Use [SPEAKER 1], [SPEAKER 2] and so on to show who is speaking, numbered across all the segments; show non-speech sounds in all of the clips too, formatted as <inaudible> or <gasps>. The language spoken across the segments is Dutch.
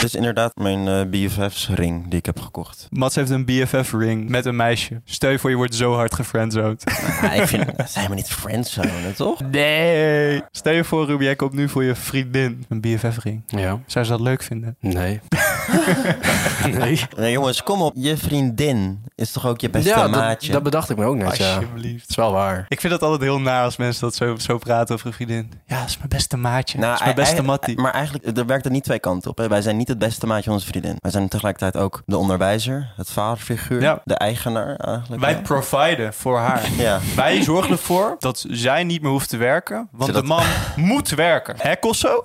[SPEAKER 1] Het is inderdaad mijn eh, BFF's-ring die ik heb gekocht.
[SPEAKER 2] Mats heeft een BFF-ring met een meisje. Stel je voor, je wordt zo hard <laughs> gefriendzoned.
[SPEAKER 1] Ah, ik vind, <laughs> dat zijn we niet friendzone, toch?
[SPEAKER 2] Nee. Stel je voor, Ruby, jij komt nu voor je vriendin een BFF-ring.
[SPEAKER 3] Ja.
[SPEAKER 2] Zou ze dat leuk vinden?
[SPEAKER 3] Nee. <laughs> nee.
[SPEAKER 1] Nee, jongens, kom op. Je vriendin is toch ook je beste
[SPEAKER 3] ja, dat,
[SPEAKER 1] maatje?
[SPEAKER 3] dat bedacht ik me ook net, ja. Dat
[SPEAKER 2] Alsjeblieft.
[SPEAKER 3] is wel
[SPEAKER 2] <laughs>
[SPEAKER 3] waar.
[SPEAKER 2] Ik vind dat altijd heel na als mensen dat zo, zo praten over een vriendin. Ja, dat is mijn beste maatje.
[SPEAKER 1] Nou,
[SPEAKER 2] dat is mijn beste
[SPEAKER 1] ei-
[SPEAKER 2] mattie.
[SPEAKER 1] Maar eigenlijk, er werkt er niet twee kanten op. Hè. Wij zijn niet het beste maatje van onze vriendin. Wij zijn tegelijkertijd ook de onderwijzer, het vaderfiguur,
[SPEAKER 2] Ja.
[SPEAKER 1] de eigenaar eigenlijk.
[SPEAKER 2] Wij
[SPEAKER 1] hè.
[SPEAKER 2] providen voor haar. <laughs>
[SPEAKER 1] ja.
[SPEAKER 2] Wij zorgen ervoor dat zij niet meer hoeft te werken, want
[SPEAKER 1] Zodat-
[SPEAKER 2] de man moet werken. Hé, Kosso?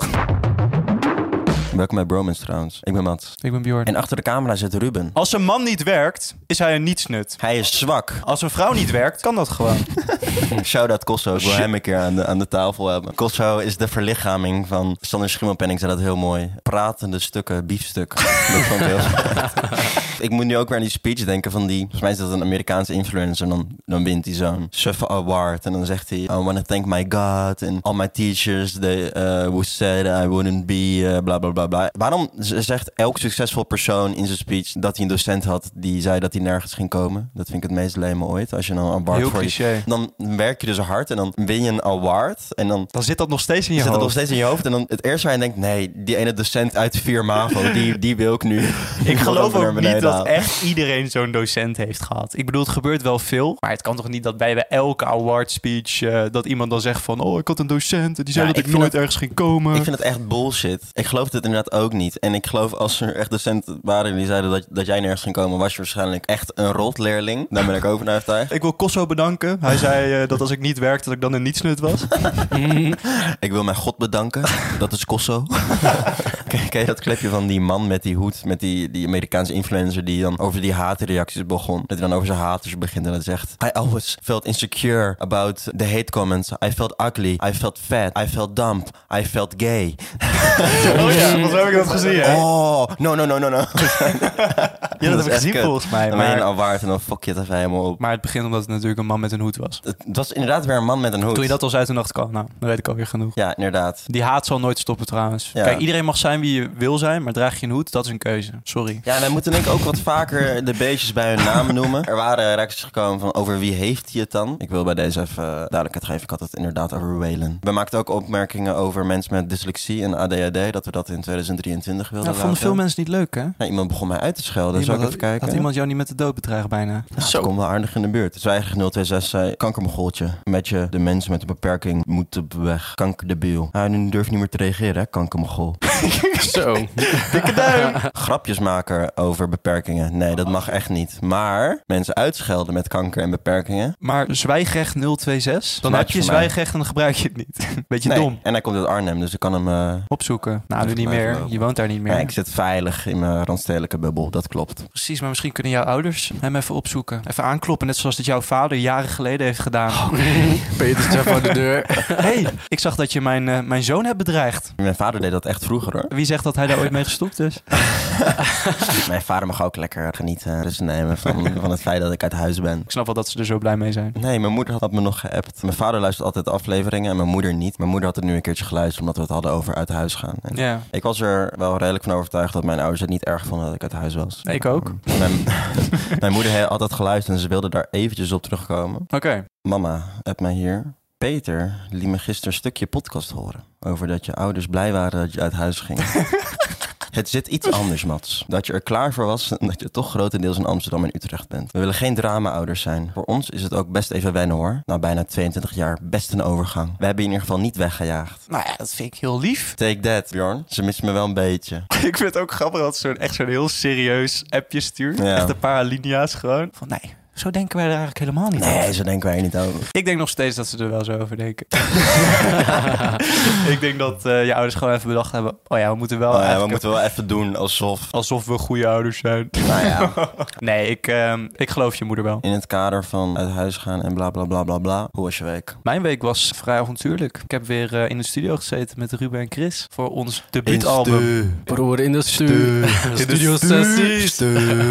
[SPEAKER 1] Welkom bij Bromance trouwens. Ik ben Mats.
[SPEAKER 2] Ik ben Bjorn.
[SPEAKER 1] En achter de camera zit Ruben.
[SPEAKER 2] Als een man niet werkt, is hij een nietsnut.
[SPEAKER 1] Hij is zwak.
[SPEAKER 2] Als een vrouw niet werkt, kan dat gewoon.
[SPEAKER 1] <laughs> Shout-out Kosso. Ik wil hem een keer aan de, aan de tafel hebben. Kosso is de verlichaming van... Sander Schimmelpenning zei dat heel mooi. Pratende stukken, biefstuk. Dat vond ik heel mooi. Ik moet nu ook weer aan die speech denken van die... Volgens mij is dat een Amerikaanse influencer. En dan, dan wint hij zo'n suffer award. En dan zegt hij... I want to thank my God. And all my teachers they, eh, who said I wouldn't be... eh, bla, bla, bla, bla. Waarom z- zegt elk succesvol persoon in zijn speech... dat hij een docent had die zei dat hij nergens ging komen? Dat vind ik het meest lame ooit. Als je dan een award
[SPEAKER 2] Heel
[SPEAKER 1] voor je
[SPEAKER 2] cliché.
[SPEAKER 1] dan werk je dus hard en dan win je een award. En dan
[SPEAKER 2] Dan zit dat nog steeds in je
[SPEAKER 1] zit het nog
[SPEAKER 2] hoofd.
[SPEAKER 1] steeds in je hoofd. En dan het eerste waar je denkt, nee, die ene docent uit 4 MAVO, die, die wil ik nu. <laughs>
[SPEAKER 2] Ik geloof
[SPEAKER 1] Naar
[SPEAKER 2] ook
[SPEAKER 1] beneden
[SPEAKER 2] niet dat
[SPEAKER 1] halen.
[SPEAKER 2] echt iedereen zo'n docent heeft gehad. Ik bedoel, het gebeurt wel veel. Maar het kan toch niet dat bij bij elke award speech eh, dat iemand dan zegt van... Oh, ik had een docent en die zei
[SPEAKER 1] Ja,
[SPEAKER 2] dat
[SPEAKER 1] ik
[SPEAKER 2] ik,
[SPEAKER 1] vind
[SPEAKER 2] nooit ergens ging komen.
[SPEAKER 1] Ik vind het echt bullshit. Ik geloof dit inderdaad ook niet. En ik geloof als er echt docenten waren die zeiden dat, dat jij nergens ging komen, was je waarschijnlijk echt een rotleerling. Daar ben ik ook van overtuigd.
[SPEAKER 2] Ik wil Kosso bedanken. Hij zei eh, dat als ik niet werkte, dat ik dan een nietsnut
[SPEAKER 1] <laughs>
[SPEAKER 2] was.
[SPEAKER 1] Ik wil mijn God
[SPEAKER 2] <laughs>
[SPEAKER 1] bedanken. Dat is Kosso. Ken ken je dat clipje van die man met die hoed, met die, die Amerikaanse influencer die dan over die haatreacties begon? Dat hij dan over zijn haters begint en dat zegt: I always felt insecure about the hate comments. I felt ugly. I felt fat. I felt dumb. I felt gay.
[SPEAKER 2] Oh ja, wat heb ik
[SPEAKER 1] <laughs>
[SPEAKER 2] dat gezien, hè?
[SPEAKER 1] Oh, no, no, no, no, no.
[SPEAKER 2] Ja, dat
[SPEAKER 1] is
[SPEAKER 2] heb ik
[SPEAKER 1] echt
[SPEAKER 2] gezien
[SPEAKER 1] kut.
[SPEAKER 2] volgens mij.
[SPEAKER 1] Dan ben je
[SPEAKER 2] Maar,
[SPEAKER 1] al waard en dan fok je het even helemaal op.
[SPEAKER 2] maar het begint omdat het natuurlijk een man met een hoed was.
[SPEAKER 1] Het het was inderdaad weer een man met een hoed.
[SPEAKER 2] Toen je dat als uit de nacht kwam, nou, dan weet ik alweer genoeg.
[SPEAKER 1] Ja, inderdaad.
[SPEAKER 2] Die haat zal nooit stoppen trouwens.
[SPEAKER 1] Ja.
[SPEAKER 2] Kijk, iedereen mag zijn wie je wil zijn, maar draag je een hoed, dat is een keuze. Sorry.
[SPEAKER 1] Ja, en wij moeten denk ik ook wat vaker de beestjes bij hun naam noemen. Er waren reacties gekomen van over wie heeft hij het dan? Ik wil bij deze even eh, duidelijkheid geven. Ik had het inderdaad over Whalen. We maakten ook opmerkingen over mensen met dyslexie en ADHD. Dat we dat in 2023 wilden
[SPEAKER 2] Dat vonden
[SPEAKER 1] laten.
[SPEAKER 2] veel mensen niet leuk, hè?
[SPEAKER 1] Nou, iemand begon mij uit te schelden.
[SPEAKER 2] Iemand
[SPEAKER 1] Zal ik
[SPEAKER 2] had-
[SPEAKER 1] even kijken?
[SPEAKER 2] Had iemand jou niet met de dood bedreigen bijna?
[SPEAKER 1] Nou, dat komt wel aardig in de buurt. Zwijger 026 zei, kankermogoltje. Met je de mensen met een beperking moeten weg. Kankerdebiel. Hij nu durft niet meer te reageren, hè, kankermogol.
[SPEAKER 3] Zo.
[SPEAKER 1] <laughs> grapjes maken over beperkingen. Nee, dat mag echt niet. Maar mensen uitschelden met kanker en beperkingen.
[SPEAKER 2] Maar zwijgrecht 026, dan
[SPEAKER 1] Maatje
[SPEAKER 2] heb je
[SPEAKER 1] van mij.
[SPEAKER 2] zwijgrecht en dan gebruik je het niet. <laughs> Beetje
[SPEAKER 1] Nee.
[SPEAKER 2] dom.
[SPEAKER 1] En hij komt uit Arnhem, dus ik kan hem. eh,
[SPEAKER 2] Opzoeken. Nou, nu
[SPEAKER 1] Dat
[SPEAKER 2] niet
[SPEAKER 1] blijft
[SPEAKER 2] meer.
[SPEAKER 1] wel.
[SPEAKER 2] Je woont daar niet meer.
[SPEAKER 1] ja, ik zit veilig in mijn randstedelijke bubbel, dat klopt.
[SPEAKER 2] Precies, maar misschien kunnen jouw ouders hem even opzoeken. Even aankloppen, net zoals dat jouw vader jaren geleden heeft gedaan.
[SPEAKER 3] Peter staat voor de deur.
[SPEAKER 2] <laughs> hey, ik zag dat je mijn, eh, mijn zoon hebt bedreigd.
[SPEAKER 1] Mijn vader deed dat echt vroeger
[SPEAKER 2] <laughs>
[SPEAKER 1] hoor.
[SPEAKER 2] Wie zegt dat hij daar ooit mee gestopt is?
[SPEAKER 1] Mijn vader mag ook lekker genieten, rust nemen
[SPEAKER 2] <laughs>
[SPEAKER 1] van, van het feit dat ik uit huis ben.
[SPEAKER 2] Ik snap wel dat ze er zo blij mee zijn.
[SPEAKER 1] Nee, mijn moeder had me nog geappt. Mijn vader luistert altijd afleveringen en mijn moeder niet. Mijn moeder had het nu een keertje geluisterd omdat we het hadden over uit huis gaan. En
[SPEAKER 2] Ja,
[SPEAKER 1] Ik was er wel redelijk van overtuigd dat mijn ouders het niet erg vonden dat ik uit huis was.
[SPEAKER 2] ik ook. Oké.
[SPEAKER 1] <laughs> Mijn, mijn moeder he- had dat geluisterd en ze wilde daar eventjes op terugkomen. Mama, heb mij hier. Peter liet me gisteren een stukje podcast horen. Over dat je ouders blij waren dat je uit huis
[SPEAKER 2] <laughs>
[SPEAKER 1] ging. Het zit iets anders, Mats. Dat je er klaar voor was en dat je toch grotendeels in Amsterdam en Utrecht bent. We willen geen drama-ouders zijn. Voor ons is het ook best even wennen hoor. Na bijna 22 jaar best een overgang. We hebben je in ieder geval niet weggejaagd.
[SPEAKER 2] Nou ja, dat vind ik heel lief.
[SPEAKER 1] Take that, Bjorn. Ze mist me wel een beetje.
[SPEAKER 2] <laughs> Ik vind het ook grappig dat ze zo'n- echt zo'n heel serieus appje stuurt.
[SPEAKER 1] Ja.
[SPEAKER 2] Echt een paar alinea's gewoon. Van nee, zo denken wij er eigenlijk helemaal niet
[SPEAKER 1] Nee,
[SPEAKER 2] over.
[SPEAKER 1] zo denken wij er niet over.
[SPEAKER 2] Ik denk nog steeds dat ze er wel zo over denken. <laughs> ik denk dat eh, je ouders gewoon even bedacht hebben... oh ja, we moeten wel
[SPEAKER 1] Oh, ja, we
[SPEAKER 2] eigenlijk
[SPEAKER 1] moeten wel even doen alsof.
[SPEAKER 2] alsof we goede ouders <laughs> zijn.
[SPEAKER 1] Nou ja.
[SPEAKER 2] Nee, ik, ehm, ik geloof je moeder wel.
[SPEAKER 1] In het kader van uit huis gaan en bla bla bla bla bla. Hoe was je week?
[SPEAKER 2] Mijn week was vrij avontuurlijk. Ik heb weer eh, in de studio gezeten met Ruben en Chris voor ons debuutalbum.
[SPEAKER 3] Broer in de stuur.
[SPEAKER 2] In de
[SPEAKER 3] Studio
[SPEAKER 2] stuur.
[SPEAKER 3] sessies.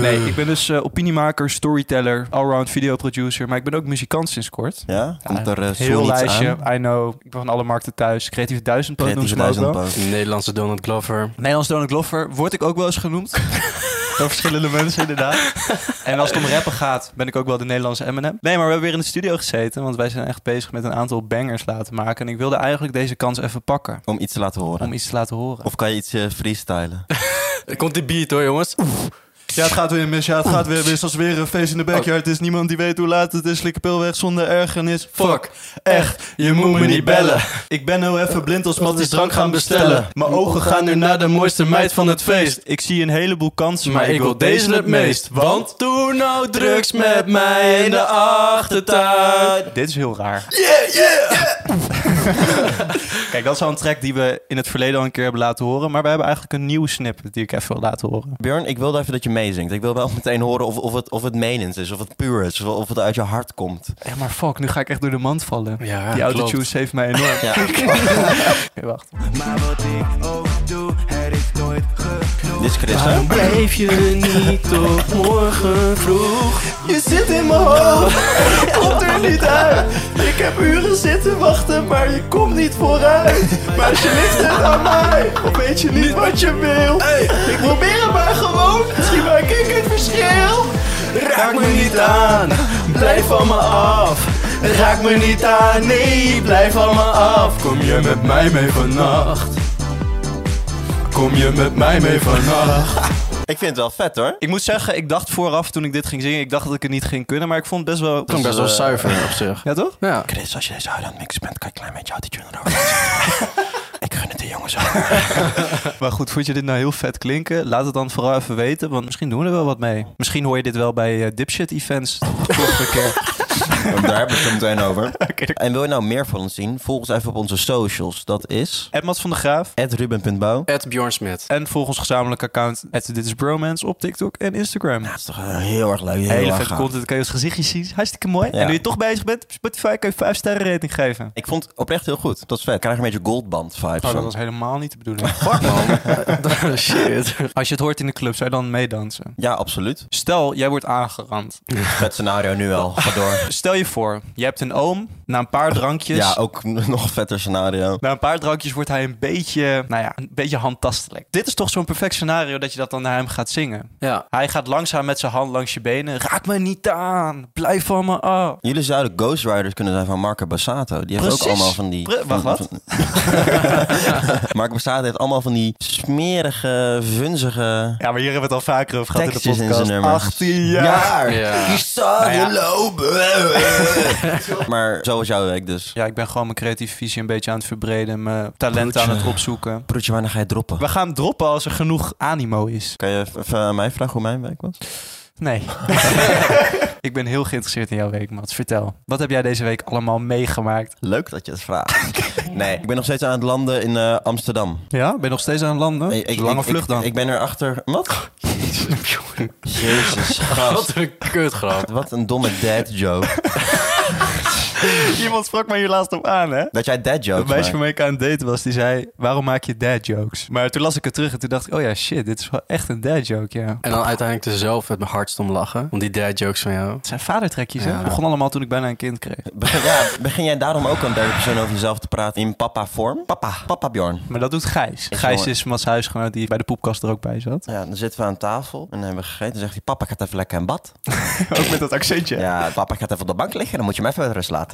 [SPEAKER 2] Nee, ik ben dus eh, opiniemaker, storyteller, allround videoproducer, maar ik ben ook muzikant sinds kort.
[SPEAKER 1] Ja? Komt
[SPEAKER 2] Ja,
[SPEAKER 1] er eh, Soul
[SPEAKER 2] Heel
[SPEAKER 1] iets
[SPEAKER 2] lijstje,
[SPEAKER 1] aan?
[SPEAKER 2] I know. Ik ben van alle markten thuis. Creatieve duizendpoot noemen
[SPEAKER 1] Creatieve
[SPEAKER 2] ze me ook wel.
[SPEAKER 1] duizendpoot.
[SPEAKER 3] Nederlandse Donald Glover.
[SPEAKER 2] Nederlands Donald Glover word ik ook wel eens <laughs> genoemd. Door verschillende mensen inderdaad. En als het om rappen gaat, ben ik ook wel de Nederlandse Eminem. Nee, maar we hebben weer in de studio gezeten. Want wij zijn echt bezig met een aantal bangers laten maken. En ik wilde eigenlijk deze kans even pakken.
[SPEAKER 1] Om iets te laten horen.
[SPEAKER 2] Om iets te laten horen.
[SPEAKER 1] Of kan je iets eh, freestylen?
[SPEAKER 3] Er komt die beat hoor, jongens.
[SPEAKER 2] Ja, het gaat weer mis. Ja, het gaat weer mis. Als weer een feest in de backyard is. Niemand die weet hoe laat het is. Slikkenpil weg zonder ergernis. Fuck. Echt. Je moet me niet bellen. Ik ben heel even blind als Matties drank gaan bestellen. Mijn ogen gaan nu naar de mooiste meid van het feest. Ik zie een heleboel kansen, maar ik wil deze het meest. Want doe nou drugs met mij in de achtertuin. Dit is heel raar. Yeah, yeah! <laughs> Kijk, dat is al een track die we in het verleden al een keer hebben laten horen. Maar we hebben eigenlijk een nieuwe snippet die ik even wil laten horen.
[SPEAKER 1] Björn, ik wilde even dat je meezingt. Ik wil wel <laughs> meteen horen of, of het, of het menens is, of het puur is, of, of het uit je hart komt.
[SPEAKER 2] Ja, maar fuck, nu ga ik echt door de mand vallen.
[SPEAKER 3] Ja,
[SPEAKER 2] Die
[SPEAKER 3] klopt.
[SPEAKER 2] autotune heeft mij enorm.
[SPEAKER 1] <laughs> Ja.
[SPEAKER 2] Oké, wacht.
[SPEAKER 4] <laughs> Maar wat ik ook doe, het is nooit genoeg.
[SPEAKER 1] Dit is Chris, hè?
[SPEAKER 3] Blijf je niet tot morgen vroeg.
[SPEAKER 2] Je zit in mijn
[SPEAKER 3] <laughs>
[SPEAKER 2] hoofd, komt er niet uit. Ik heb uren zitten wachten, maar je komt niet vooruit. Maar je ligt het aan mij, of weet je niet wat je wil? Ik probeer het maar gewoon, misschien maak ik het verschil. Raak me niet aan, blijf van me af. Raak me niet aan, nee, blijf van me af. Kom je met mij mee vannacht? Kom je met mij mee vannacht?
[SPEAKER 1] Ik vind het wel vet, hoor.
[SPEAKER 2] Ik moet zeggen, ik dacht vooraf toen ik dit ging zingen, ik dacht dat ik het niet ging kunnen, maar ik vond het best wel...
[SPEAKER 3] Klonk best wel
[SPEAKER 1] eh,
[SPEAKER 3] zuiver op zich.
[SPEAKER 2] Ja toch?
[SPEAKER 3] Ja.
[SPEAKER 1] Chris, als je deze huid aan het mixen bent, kan je een klein beetje autotune erover. <laughs> ik gun het de jongens ook.
[SPEAKER 2] Maar goed, vond je dit nou heel vet klinken? Laat het dan vooral even weten, want misschien doen we er wel wat mee. Misschien hoor je dit wel bij eh, dipshit events. Volgende
[SPEAKER 1] <laughs>
[SPEAKER 2] keer.
[SPEAKER 1] Daar hebben we het zo meteen
[SPEAKER 2] <laughs>
[SPEAKER 1] over. En wil je nou meer van ons zien? Volg ons even op onze socials. Dat is
[SPEAKER 2] Edmats van de Graaf.
[SPEAKER 1] ruben.bouw.
[SPEAKER 3] Ed Bjorn Smit.
[SPEAKER 2] En volg ons gezamenlijke account, dit is Bromance, op TikTok en Instagram.
[SPEAKER 1] Dat is toch eh, heel erg leuk. Heel
[SPEAKER 2] Hele
[SPEAKER 1] erg
[SPEAKER 2] vet
[SPEAKER 1] gaaf.
[SPEAKER 2] content, kan je ons gezichtje zien. Hartstikke mooi.
[SPEAKER 1] Ja.
[SPEAKER 2] En nu je toch bezig bent, op Spotify kan je 5 sterren rating geven.
[SPEAKER 1] Ik vond het oprecht heel goed. Dat is vet. Ik krijg een beetje goldband vibes.
[SPEAKER 2] Oh,
[SPEAKER 1] van.
[SPEAKER 2] dat was helemaal niet de <laughs> bedoeling. Oh,
[SPEAKER 3] Fuck man. Shit.
[SPEAKER 2] Als je het hoort in de club, zou je dan meedansen?
[SPEAKER 1] Ja, absoluut.
[SPEAKER 2] Stel, jij wordt aangerand.
[SPEAKER 1] Vet scenario nu al. Ga
[SPEAKER 2] <laughs>
[SPEAKER 1] door.
[SPEAKER 2] Stel je voor, je hebt een oom. Na een paar drankjes...
[SPEAKER 1] Ja, ook <laughs> n- nog een vetter scenario.
[SPEAKER 2] Na een paar drankjes wordt hij een beetje, nou ja, een beetje handtastelijk. Dit is toch zo'n perfect scenario dat je dat dan naar hem gaat zingen.
[SPEAKER 3] Ja.
[SPEAKER 2] Hij gaat langzaam met zijn hand langs je benen. Raak me niet aan, blijf van me af.
[SPEAKER 1] Jullie zouden Ghost Riders kunnen zijn van Marco Bassato. Die heeft ook
[SPEAKER 2] Precies.
[SPEAKER 1] allemaal van die...
[SPEAKER 2] Pre- wacht,
[SPEAKER 1] van-
[SPEAKER 2] wat?
[SPEAKER 1] van- <laughs> Marco Bassato heeft allemaal van die smerige, vunzige...
[SPEAKER 2] Ja, maar hier hebben we het al vaker over gehad
[SPEAKER 1] tekstjes
[SPEAKER 2] in
[SPEAKER 1] in
[SPEAKER 2] de
[SPEAKER 1] zijn
[SPEAKER 2] podcast.
[SPEAKER 1] nummer.
[SPEAKER 2] 18 jaar.
[SPEAKER 3] Ja. <laughs>
[SPEAKER 1] Die zou
[SPEAKER 2] Nou ja.
[SPEAKER 1] lopen. <laughs> maar zo is jouw week dus.
[SPEAKER 2] Ja, ik ben gewoon mijn creatieve visie een beetje aan het verbreden. Mijn talent aan het opzoeken.
[SPEAKER 1] Broertje, wanneer ga je droppen?
[SPEAKER 2] We gaan droppen als er genoeg animo is.
[SPEAKER 1] Kan je even aan mij vragen hoe mijn week was? <laughs>
[SPEAKER 2] Nee. ik ben heel geïnteresseerd in jouw week, Mats. Vertel. Wat heb jij deze week allemaal meegemaakt?
[SPEAKER 1] Leuk dat je het vraagt.
[SPEAKER 2] <laughs>
[SPEAKER 1] nee, ik ben nog steeds aan het landen in eh, Amsterdam.
[SPEAKER 2] Ja, ben je nog steeds aan het landen?
[SPEAKER 1] Ik- ik-
[SPEAKER 2] Oh, Lange
[SPEAKER 1] ik-
[SPEAKER 2] vlucht
[SPEAKER 1] ik-
[SPEAKER 2] dan. Oh,
[SPEAKER 1] Ik, ben erachter... Wat? Jezus, gast.
[SPEAKER 3] Wat een kutgrap.
[SPEAKER 1] Wat een domme dad joke.
[SPEAKER 2] Iemand sprak mij hier laatst op aan, hè?
[SPEAKER 1] Dat jij dad jokes
[SPEAKER 2] Een meisje
[SPEAKER 1] maakt.
[SPEAKER 2] waarmee ik aan het daten was, die zei... waarom maak je dad jokes? Maar toen las ik het terug en toen dacht ik... oh ja, shit, dit is wel echt een dad joke, ja.
[SPEAKER 3] En dan uiteindelijk er zelf met mijn hardst om lachen. Want die dad jokes van jou.
[SPEAKER 2] Het zijn vadertrekjes, hè?
[SPEAKER 3] Ja.
[SPEAKER 2] Het begon allemaal toen ik bijna een kind kreeg.
[SPEAKER 1] Be- ja, begin jij daarom ook aan derde persoon over jezelf te praten in papa-vorm? Papa. Papa Bjorn.
[SPEAKER 2] Maar dat doet Gijs.
[SPEAKER 1] Is
[SPEAKER 2] Gijs
[SPEAKER 1] mooi.
[SPEAKER 2] is Mats huisgenoot die bij de poepkast er ook bij zat.
[SPEAKER 1] Ja, dan zitten we aan tafel en dan hebben we gegeten. Dan zegt hij, papa gaat even lekker in bad.
[SPEAKER 2] <laughs> ook met dat accentje.
[SPEAKER 1] Ja, papa gaat even op de bank liggen, dan moet je hem even met rust <laughs> laten.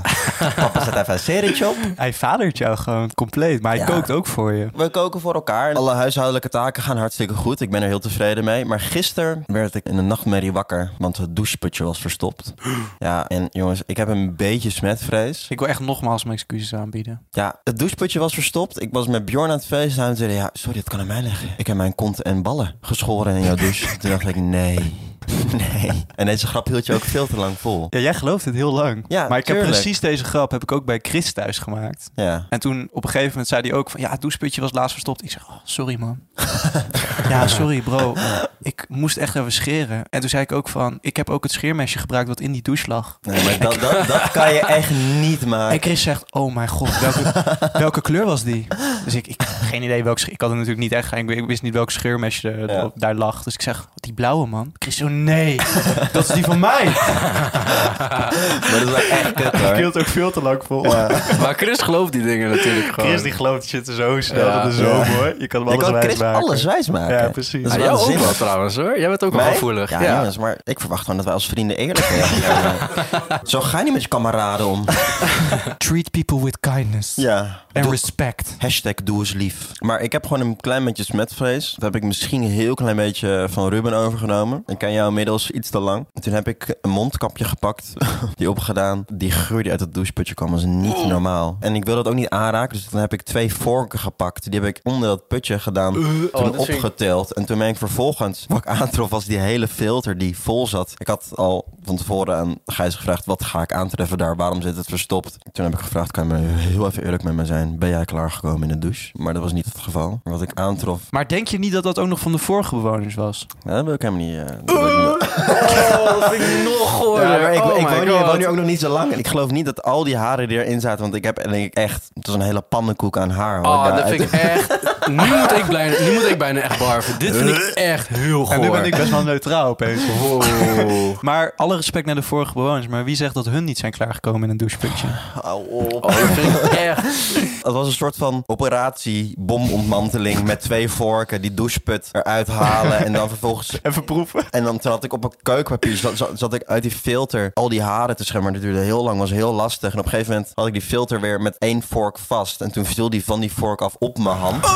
[SPEAKER 1] papa zet even een serietje op.
[SPEAKER 2] Hij vadert jou gewoon compleet, maar hij
[SPEAKER 1] Ja.
[SPEAKER 2] kookt ook voor je.
[SPEAKER 1] We koken voor elkaar. Alle huishoudelijke taken gaan hartstikke goed. Ik ben er heel tevreden mee. Maar gisteren werd ik in een nachtmerrie wakker, want het doucheputje was <gasps> verstopt. Ja, en jongens, ik heb een beetje smetvrees.
[SPEAKER 2] Ik wil echt nogmaals mijn excuses aanbieden.
[SPEAKER 1] Ja, het doucheputje was verstopt. Ik was met Bjorn aan het feest. En hij zei, ja, sorry, dat kan aan mij liggen. Ik heb mijn kont en ballen geschoren <laughs> in jouw douche. Toen dacht ik, <laughs> nee, nee. En deze grap hield je ook veel te lang vol.
[SPEAKER 2] Ja, jij gelooft het heel lang.
[SPEAKER 1] Ja,
[SPEAKER 2] maar ik heb
[SPEAKER 1] tuurlijk.
[SPEAKER 2] precies deze grap heb ik ook bij Chris thuis gemaakt.
[SPEAKER 1] Ja.
[SPEAKER 2] En toen op een gegeven moment zei hij ook van... Ja, het doucheputje was laatst verstopt. Ik zeg, oh, sorry man. ja, sorry bro. Eh, Ik moest echt even scheren. En toen zei ik ook van... Ik heb ook het scheermesje gebruikt wat in die douche lag.
[SPEAKER 1] Nee, maar dat, dat, dat kan je echt <laughs> niet maken.
[SPEAKER 2] <laughs> En Chris zegt, oh mijn god,
[SPEAKER 1] <laughs>
[SPEAKER 2] welke, welke kleur was die? Dus ik, ik geen idee welke... sche- Ik had het natuurlijk niet echt... Ik, ik wist niet welk scheermesje er-
[SPEAKER 1] Ja.
[SPEAKER 2] daar lag. Dus ik zeg, die die blauwe man. Chris, zo, nee, dat is die van mij.
[SPEAKER 1] <laughs>
[SPEAKER 2] <laughs>
[SPEAKER 1] Maar dat is wel echt kut
[SPEAKER 5] <laughs> Ik
[SPEAKER 1] hoor.
[SPEAKER 5] hield ook veel te lang vol.
[SPEAKER 3] Maar Chris gelooft die dingen natuurlijk gewoon.
[SPEAKER 5] Chris die gelooft shit zo snel,
[SPEAKER 3] Ja.
[SPEAKER 5] dat is zo mooi. Je kan hem
[SPEAKER 1] Ik
[SPEAKER 5] alles
[SPEAKER 1] kan
[SPEAKER 5] wijs
[SPEAKER 1] Chris
[SPEAKER 5] maken.
[SPEAKER 1] alles wijs maken.
[SPEAKER 5] Ja, precies.
[SPEAKER 1] Dat
[SPEAKER 3] Ah,
[SPEAKER 1] is
[SPEAKER 3] jou ook
[SPEAKER 1] waanzinnig.
[SPEAKER 3] wel trouwens hoor. Jij bent ook wel
[SPEAKER 1] Mij?
[SPEAKER 3] gevoelig.
[SPEAKER 1] Ja,
[SPEAKER 3] Ja,
[SPEAKER 1] jongens, maar ik verwacht gewoon dat wij als vrienden eerlijk <laughs> zijn. Zo ga je niet met je kameraden om.
[SPEAKER 2] Treat people with kindness
[SPEAKER 1] Ja.
[SPEAKER 2] and respect.
[SPEAKER 1] Hashtag doe eens lief. Maar ik heb gewoon een klein beetje smetvrees. Dat heb ik misschien een heel klein beetje van Ruben overgenomen. Ik ken jou inmiddels iets te lang. En toen heb ik een mondkapje gepakt. <laughs> Die opgedaan. Die geur die uit het doucheputje kwam was niet normaal. En ik wil dat ook niet aanraken. Dus dan heb ik twee vorken gepakt. Die heb ik onder dat putje gedaan. toen
[SPEAKER 3] Oh, dat vind ik-
[SPEAKER 1] opgeteld. En toen ben ik vervolgens... Wat ik aantrof was die hele filter die vol zat. Ik had al van tevoren aan Gijs gevraagd... Wat ga ik aantreffen daar? Waarom zit het verstopt? Toen heb ik gevraagd... Kan je me heel even eerlijk met me zijn? Ben jij klaargekomen in de douche? Maar dat was niet het geval. Wat ik aantrof...
[SPEAKER 2] Maar denk je niet dat dat ook nog van de vorige bewoners was?
[SPEAKER 1] ja, dat wil ik helemaal niet... eh, dat wil ik niet.
[SPEAKER 3] Oh, dat vind ik nog goor. Oh
[SPEAKER 1] Ja, maar ik, ik, woon, hier- ik woon hier
[SPEAKER 3] ook.
[SPEAKER 1] ook nog niet zo lang. En ik geloof niet dat al die haren die erin zaten. Want ik heb denk ik echt... Het was een hele pannenkoek aan haar. hoor.
[SPEAKER 3] Oh,
[SPEAKER 1] Ja,
[SPEAKER 3] dat vind ik echt.
[SPEAKER 1] <laughs>
[SPEAKER 3] Nu moet ik bijna, nu moet ik bijna echt barven. Dit vind ik echt heel goor.
[SPEAKER 5] En nu ben ik best wel neutraal opeens.
[SPEAKER 3] Wow.
[SPEAKER 2] <laughs> Maar alle respect naar de vorige bewoners, maar wie zegt dat hun niet zijn klaargekomen in een doucheputje?
[SPEAKER 3] Oh, dat vind ik echt.
[SPEAKER 1] Het was een soort van operatie bomontmanteling met twee vorken die doucheput eruit halen en dan vervolgens...
[SPEAKER 5] Even proeven.
[SPEAKER 1] En dan zat ik op een keukenpapier, zat, zat, zat ik uit die filter al die haren te schermen. Dat duurde heel lang, was heel lastig. En op een gegeven moment had ik die filter weer met één vork vast. En toen viel die van die vork af op mijn hand.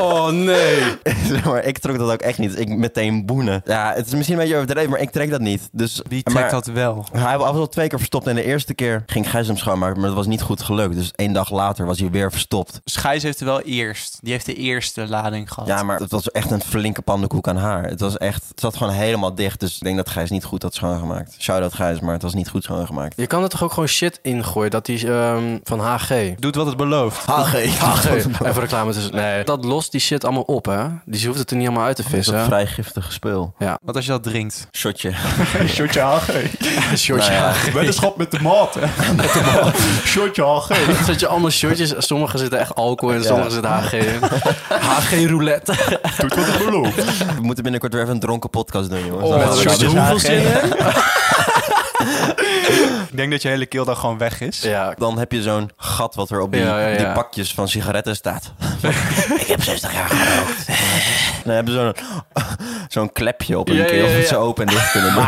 [SPEAKER 3] Oh nee.
[SPEAKER 1] <laughs> Zeg maar ik trok dat ook echt niet. Ik meteen boenen. Ja, het is misschien een beetje overdreven, maar ik trek dat niet. Dus,
[SPEAKER 2] Wie trekt
[SPEAKER 1] maar-
[SPEAKER 2] dat wel?
[SPEAKER 1] Hij was al twee keer verstopt en de eerste keer ging Gijs hem schoonmaken, maar dat was niet goed gelukt. Dus één dag later was hij weer verstopt.
[SPEAKER 2] Schijs heeft er wel eerst. Die heeft de eerste lading gehad.
[SPEAKER 1] Ja, maar het was echt een flinke pandenkoek aan haar. Het was echt, het zat gewoon helemaal dicht. Dus ik denk dat Gijs niet goed had schoongemaakt. Shout-out Gijs, maar het was niet goed schoongemaakt.
[SPEAKER 3] Je kan er toch ook gewoon shit ingooien. Dat die ehm, van HG.
[SPEAKER 2] Doet wat het belooft.
[SPEAKER 1] HG. <laughs>
[SPEAKER 3] HG. Even reclame tussen. Nee. Dat lost die shit allemaal op, hè? Dus je hoeft het er niet allemaal uit te
[SPEAKER 1] Is een
[SPEAKER 3] vissen.
[SPEAKER 1] vrij giftig spul.
[SPEAKER 2] Wat als je dat drinkt?
[SPEAKER 1] Shotje.
[SPEAKER 5] Shotje <laughs> HG.
[SPEAKER 3] Shortje.
[SPEAKER 1] Nou ja.
[SPEAKER 5] Weddenschap <laughs> met de maat. Shotje
[SPEAKER 3] <laughs>
[SPEAKER 5] HG.
[SPEAKER 3] Dan Zet je allemaal shortjes. Sommige zitten echt alcohol in, sommige zitten HG
[SPEAKER 1] <laughs>
[SPEAKER 3] in. HG roulette.
[SPEAKER 5] Doet wat het belooft.
[SPEAKER 1] We moeten binnenkort weer even een dronken podcast doen, jongens.
[SPEAKER 3] Oh,
[SPEAKER 1] Dan
[SPEAKER 3] met
[SPEAKER 1] gaan we
[SPEAKER 3] shotjes.
[SPEAKER 1] dat-
[SPEAKER 3] hoeveel zin
[SPEAKER 2] Ik denk dat je hele keel dan gewoon weg is.
[SPEAKER 3] Ja.
[SPEAKER 1] Dan heb je zo'n gat wat er op die,
[SPEAKER 3] Ja, ja, ja.
[SPEAKER 1] die pakjes van sigaretten
[SPEAKER 2] <laughs>
[SPEAKER 1] staat. ik heb 60 jaar gerookt. Dan hebben ze zo'n <laughs> zo'n klepje op hun
[SPEAKER 3] Ja, ja,
[SPEAKER 1] keel.
[SPEAKER 3] ja,
[SPEAKER 1] dat
[SPEAKER 3] ja.
[SPEAKER 1] ze open en dicht kunnen doen.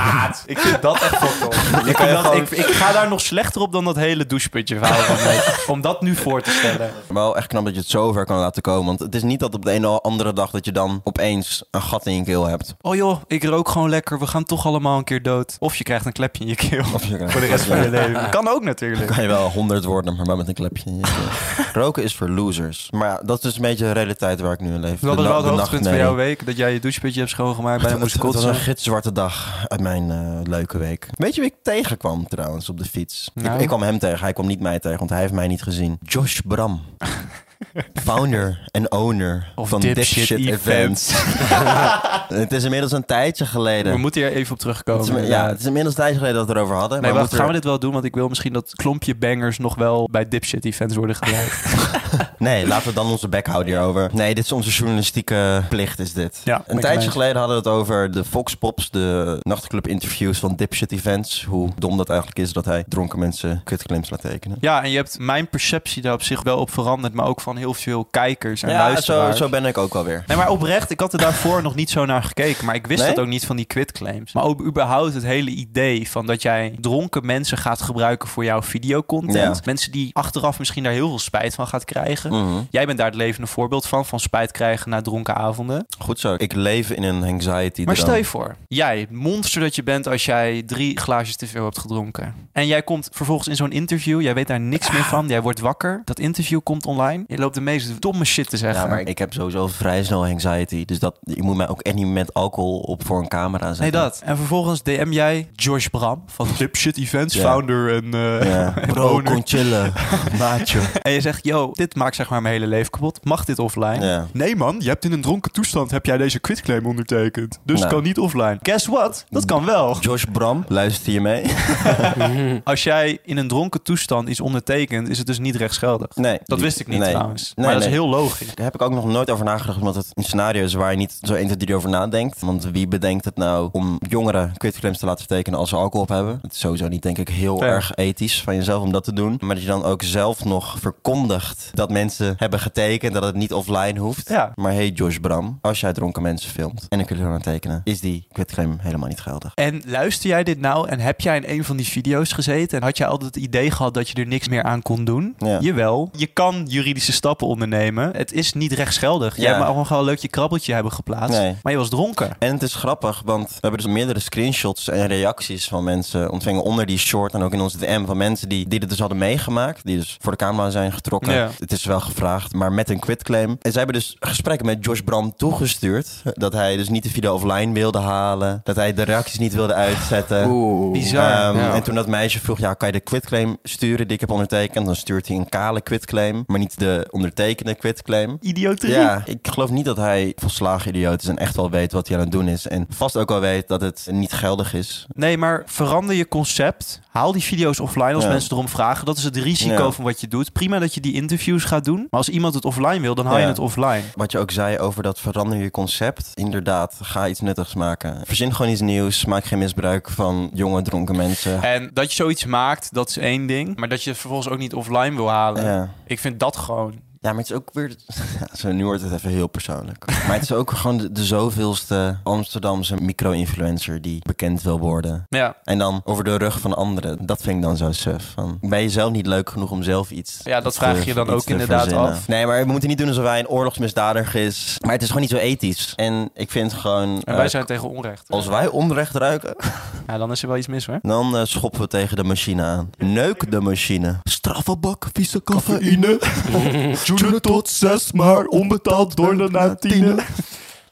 [SPEAKER 5] Ik vind dat echt fucked
[SPEAKER 2] <laughs>
[SPEAKER 5] up.
[SPEAKER 1] Dan kan je
[SPEAKER 2] Omdat
[SPEAKER 1] gewoon-
[SPEAKER 2] ik, ik ga daar nog slechter op dan dat hele doucheputje verhaal van mij. Om dat nu voor te stellen.
[SPEAKER 1] Wel echt knap dat je het zo ver kan laten komen. Want het is niet dat op de ene of andere dag dat je dan opeens een gat in je keel hebt.
[SPEAKER 2] Oh joh, ik rook gewoon lekker. We gaan toch allemaal een keer dood. Of je krijgt een klepje in je keel.
[SPEAKER 1] <laughs> Of je
[SPEAKER 2] Voor de rest van je leven. <laughs> Kan ook
[SPEAKER 1] <laughs>
[SPEAKER 2] natuurlijk.
[SPEAKER 1] kan je wel honderd worden, maar wel met een klepje in je
[SPEAKER 2] <laughs>
[SPEAKER 1] keel. Roken is voor losers. Maar ja, dat is dus een beetje de realiteit waar ik nu in leef.
[SPEAKER 2] Dat was
[SPEAKER 1] na-
[SPEAKER 2] wel het
[SPEAKER 1] nacht-
[SPEAKER 2] hoogtepunt van
[SPEAKER 1] nee.
[SPEAKER 2] jouw week. Dat jij je doucheputje hebt schoongemaakt.
[SPEAKER 1] <laughs>
[SPEAKER 2] Bijna
[SPEAKER 1] Het,
[SPEAKER 2] moest
[SPEAKER 1] het was
[SPEAKER 2] kotsen.
[SPEAKER 1] een gitzwarte dag uit mijn eh, leuke week. Weet je wie ik tegenkwam trouwens op de fiets?
[SPEAKER 2] Nou?
[SPEAKER 1] Ik, ik kwam hem tegen, hij kwam niet mij tegen, want hij heeft mij niet gezien. Josh
[SPEAKER 2] <laughs>
[SPEAKER 1] Bram. Founder en owner
[SPEAKER 2] Of
[SPEAKER 1] van
[SPEAKER 2] Dipshit
[SPEAKER 1] Dipshit,
[SPEAKER 2] Events.
[SPEAKER 1] Events. <laughs> het is inmiddels een tijdje geleden.
[SPEAKER 2] <laughs> We moeten hier even op terugkomen.
[SPEAKER 1] Het is- ja,
[SPEAKER 2] inderdaad.
[SPEAKER 1] het is inmiddels een tijdje geleden dat we het erover hadden.
[SPEAKER 2] Nee,
[SPEAKER 1] maar
[SPEAKER 2] wacht,
[SPEAKER 1] moeten
[SPEAKER 2] gaan we dit wel doen? Want ik wil misschien dat klompje bangers nog wel bij dipshit events worden
[SPEAKER 1] <laughs>
[SPEAKER 2] gebruikt.
[SPEAKER 1] nee, laten we dan onze bek houden hierover. Nee, dit is onze journalistieke plicht, is dit.
[SPEAKER 2] Ja, ben
[SPEAKER 1] een
[SPEAKER 2] ik
[SPEAKER 1] tijdje
[SPEAKER 2] mee.
[SPEAKER 1] geleden hadden we het over de Fox Pops, de nachtclub interviews van Dipshit Events. Hoe dom dat eigenlijk is dat hij dronken mensen kutclaims laat tekenen.
[SPEAKER 2] ja, en je hebt mijn perceptie daar op zich wel op veranderd, maar ook van heel veel kijkers en
[SPEAKER 1] Ja, zo,
[SPEAKER 2] luisteraars.
[SPEAKER 1] zo ben ik ook alweer.
[SPEAKER 2] Nee, maar oprecht, ik had er daarvoor nog niet zo naar gekeken. Maar ik wist
[SPEAKER 1] Nee?
[SPEAKER 2] dat ook niet van die quitclaims. Maar ook überhaupt het hele idee van dat jij dronken mensen gaat gebruiken voor jouw videocontent.
[SPEAKER 1] Ja.
[SPEAKER 2] Mensen die achteraf misschien daar heel veel spijt van gaat krijgen.
[SPEAKER 1] Mhm.
[SPEAKER 2] Jij bent daar het levende voorbeeld van, van spijt krijgen na dronken avonden.
[SPEAKER 1] Goed zo. Ik leef in een anxiety
[SPEAKER 2] Maar
[SPEAKER 1] droom.
[SPEAKER 2] stel je voor, jij, het monster dat je bent als jij drie glaasjes te veel hebt gedronken. En jij komt vervolgens in zo'n interview, jij weet daar niks meer van, jij wordt wakker. Dat interview komt online, je loopt de meest domme shit te zeggen.
[SPEAKER 1] Ja, maar ik heb sowieso vrij snel anxiety. Dus dat, je moet mij ook echt niet met alcohol op voor een camera zetten.
[SPEAKER 2] Nee, dat. En vervolgens DM jij Josh Bram van Dipshit Events,
[SPEAKER 1] Ja.
[SPEAKER 2] founder en, eh,
[SPEAKER 1] Ja.
[SPEAKER 2] <laughs> en
[SPEAKER 1] Bro,
[SPEAKER 2] owner.
[SPEAKER 1] kon
[SPEAKER 2] <laughs>
[SPEAKER 1] chillen. Maatje.
[SPEAKER 2] En je zegt, yo, dit maakt zeg maar mijn hele leven kapot. Mag dit offline?
[SPEAKER 1] Ja.
[SPEAKER 2] Nee man, je hebt in een dronken toestand heb jij deze quitclaim ondertekend.
[SPEAKER 1] Nou.
[SPEAKER 2] Dus het kan niet offline. Guess what? Dat kan wel.
[SPEAKER 1] Josh Bram, luister je mee? <laughs>
[SPEAKER 2] Als jij in een dronken toestand iets ondertekent, is het dus niet rechtsgeldig.
[SPEAKER 1] Nee.
[SPEAKER 2] Dat wist ik niet Ah.
[SPEAKER 1] Nee,
[SPEAKER 2] trouwens.
[SPEAKER 1] Nee,
[SPEAKER 2] maar dat
[SPEAKER 1] nee.
[SPEAKER 2] is heel logisch.
[SPEAKER 1] Daar heb ik ook nog nooit over nagedacht, omdat het een scenario is waar je niet zo 1, 2, 3 over nadenkt. Want wie bedenkt het nou om jongeren kutclaims te laten tekenen als ze alcohol op hebben? Het is sowieso niet, denk ik, heel
[SPEAKER 2] Ja.
[SPEAKER 1] erg ethisch van jezelf om dat te doen. Maar dat je dan ook zelf nog verkondigt dat mensen hebben getekend, dat het niet offline hoeft.
[SPEAKER 2] Ja.
[SPEAKER 1] Maar hey Josh Bram, als jij dronken mensen filmt en een cultuur aan tekenen, is die quitclaim helemaal niet geldig.
[SPEAKER 2] En luister jij dit nou en heb jij in een van die video's gezeten en had jij altijd het idee gehad dat je er niks meer aan kon doen?
[SPEAKER 1] Ja.
[SPEAKER 2] Jawel, je kan juridische stappen ondernemen. Het is niet rechtsgeldig. Jij
[SPEAKER 1] Ja.
[SPEAKER 2] mag gewoon gewoon leuk je krabbeltje hebben geplaatst,
[SPEAKER 1] Nee.
[SPEAKER 2] maar je was dronken.
[SPEAKER 1] En het is grappig, want we hebben dus meerdere screenshots en reacties van mensen ontvangen onder die short en ook in onze DM van mensen die, die dit dus hadden meegemaakt, die dus voor de camera zijn getrokken.
[SPEAKER 2] Ja.
[SPEAKER 1] Het is wel gevraagd, maar met een quitclaim. En zij hebben dus gesprekken met Josh Bram toegestuurd, dat hij dus niet de video offline wilde halen, dat hij de reacties niet wilde uitzetten.
[SPEAKER 3] Oeh.
[SPEAKER 2] Bizar.
[SPEAKER 1] Ehm,
[SPEAKER 3] ja.
[SPEAKER 1] En toen dat meisje vroeg, ja, kan je de quitclaim sturen die ik heb ondertekend? Dan stuurt hij een kale quitclaim, maar niet de ondertekende quitclaim.
[SPEAKER 2] Idioterie.
[SPEAKER 1] Ja, ik geloof niet dat hij volslagen idioot is en echt wel weet wat hij aan het doen is. En vast ook wel weet dat het niet geldig is.
[SPEAKER 2] Nee, maar verander je concept. Haal die video's offline als
[SPEAKER 1] Ja.
[SPEAKER 2] mensen erom vragen. Dat is het risico
[SPEAKER 1] Ja.
[SPEAKER 2] van wat je doet. Prima dat je die interviews gaat doen. Maar als iemand het offline wil, dan haal je
[SPEAKER 1] Ja.
[SPEAKER 2] het offline.
[SPEAKER 1] Wat je ook zei over dat verander je concept. Inderdaad, ga iets nuttigs maken. Verzin gewoon iets nieuws. Maak geen misbruik van jonge dronken mensen.
[SPEAKER 2] En dat je zoiets maakt, dat is één ding. Maar dat je het vervolgens ook niet offline wil halen.
[SPEAKER 1] Ja.
[SPEAKER 2] Ik vind dat gewoon.
[SPEAKER 1] ja, maar het is ook weer... <laughs> Ja, zo, nu wordt het even heel persoonlijk. Maar het is ook gewoon de, de zoveelste Amsterdamse micro-influencer die bekend wil worden.
[SPEAKER 2] Ja,
[SPEAKER 1] En dan over de rug van anderen. Dat vind ik dan zo suf. Van, ben je zelf niet leuk genoeg om zelf iets
[SPEAKER 2] Ja, dat
[SPEAKER 1] te-
[SPEAKER 2] vraag je dan
[SPEAKER 1] iets
[SPEAKER 2] ook
[SPEAKER 1] te
[SPEAKER 2] inderdaad
[SPEAKER 1] verzinnen?
[SPEAKER 2] af.
[SPEAKER 1] Nee, maar we moeten niet doen alsof hij een oorlogsmisdadiger is. Maar het is gewoon niet zo ethisch. En ik vind gewoon...
[SPEAKER 2] en
[SPEAKER 1] eh,
[SPEAKER 2] wij zijn tegen onrecht.
[SPEAKER 1] Als wij onrecht ruiken,
[SPEAKER 2] Ja, dan is er wel iets mis hoor.
[SPEAKER 1] dan eh, schoppen we tegen de machine aan. Neuk de machine. Straffenbak, vieze cafeïne.
[SPEAKER 2] <laughs>
[SPEAKER 5] Joelen tot zes, maar onbetaald door de natine.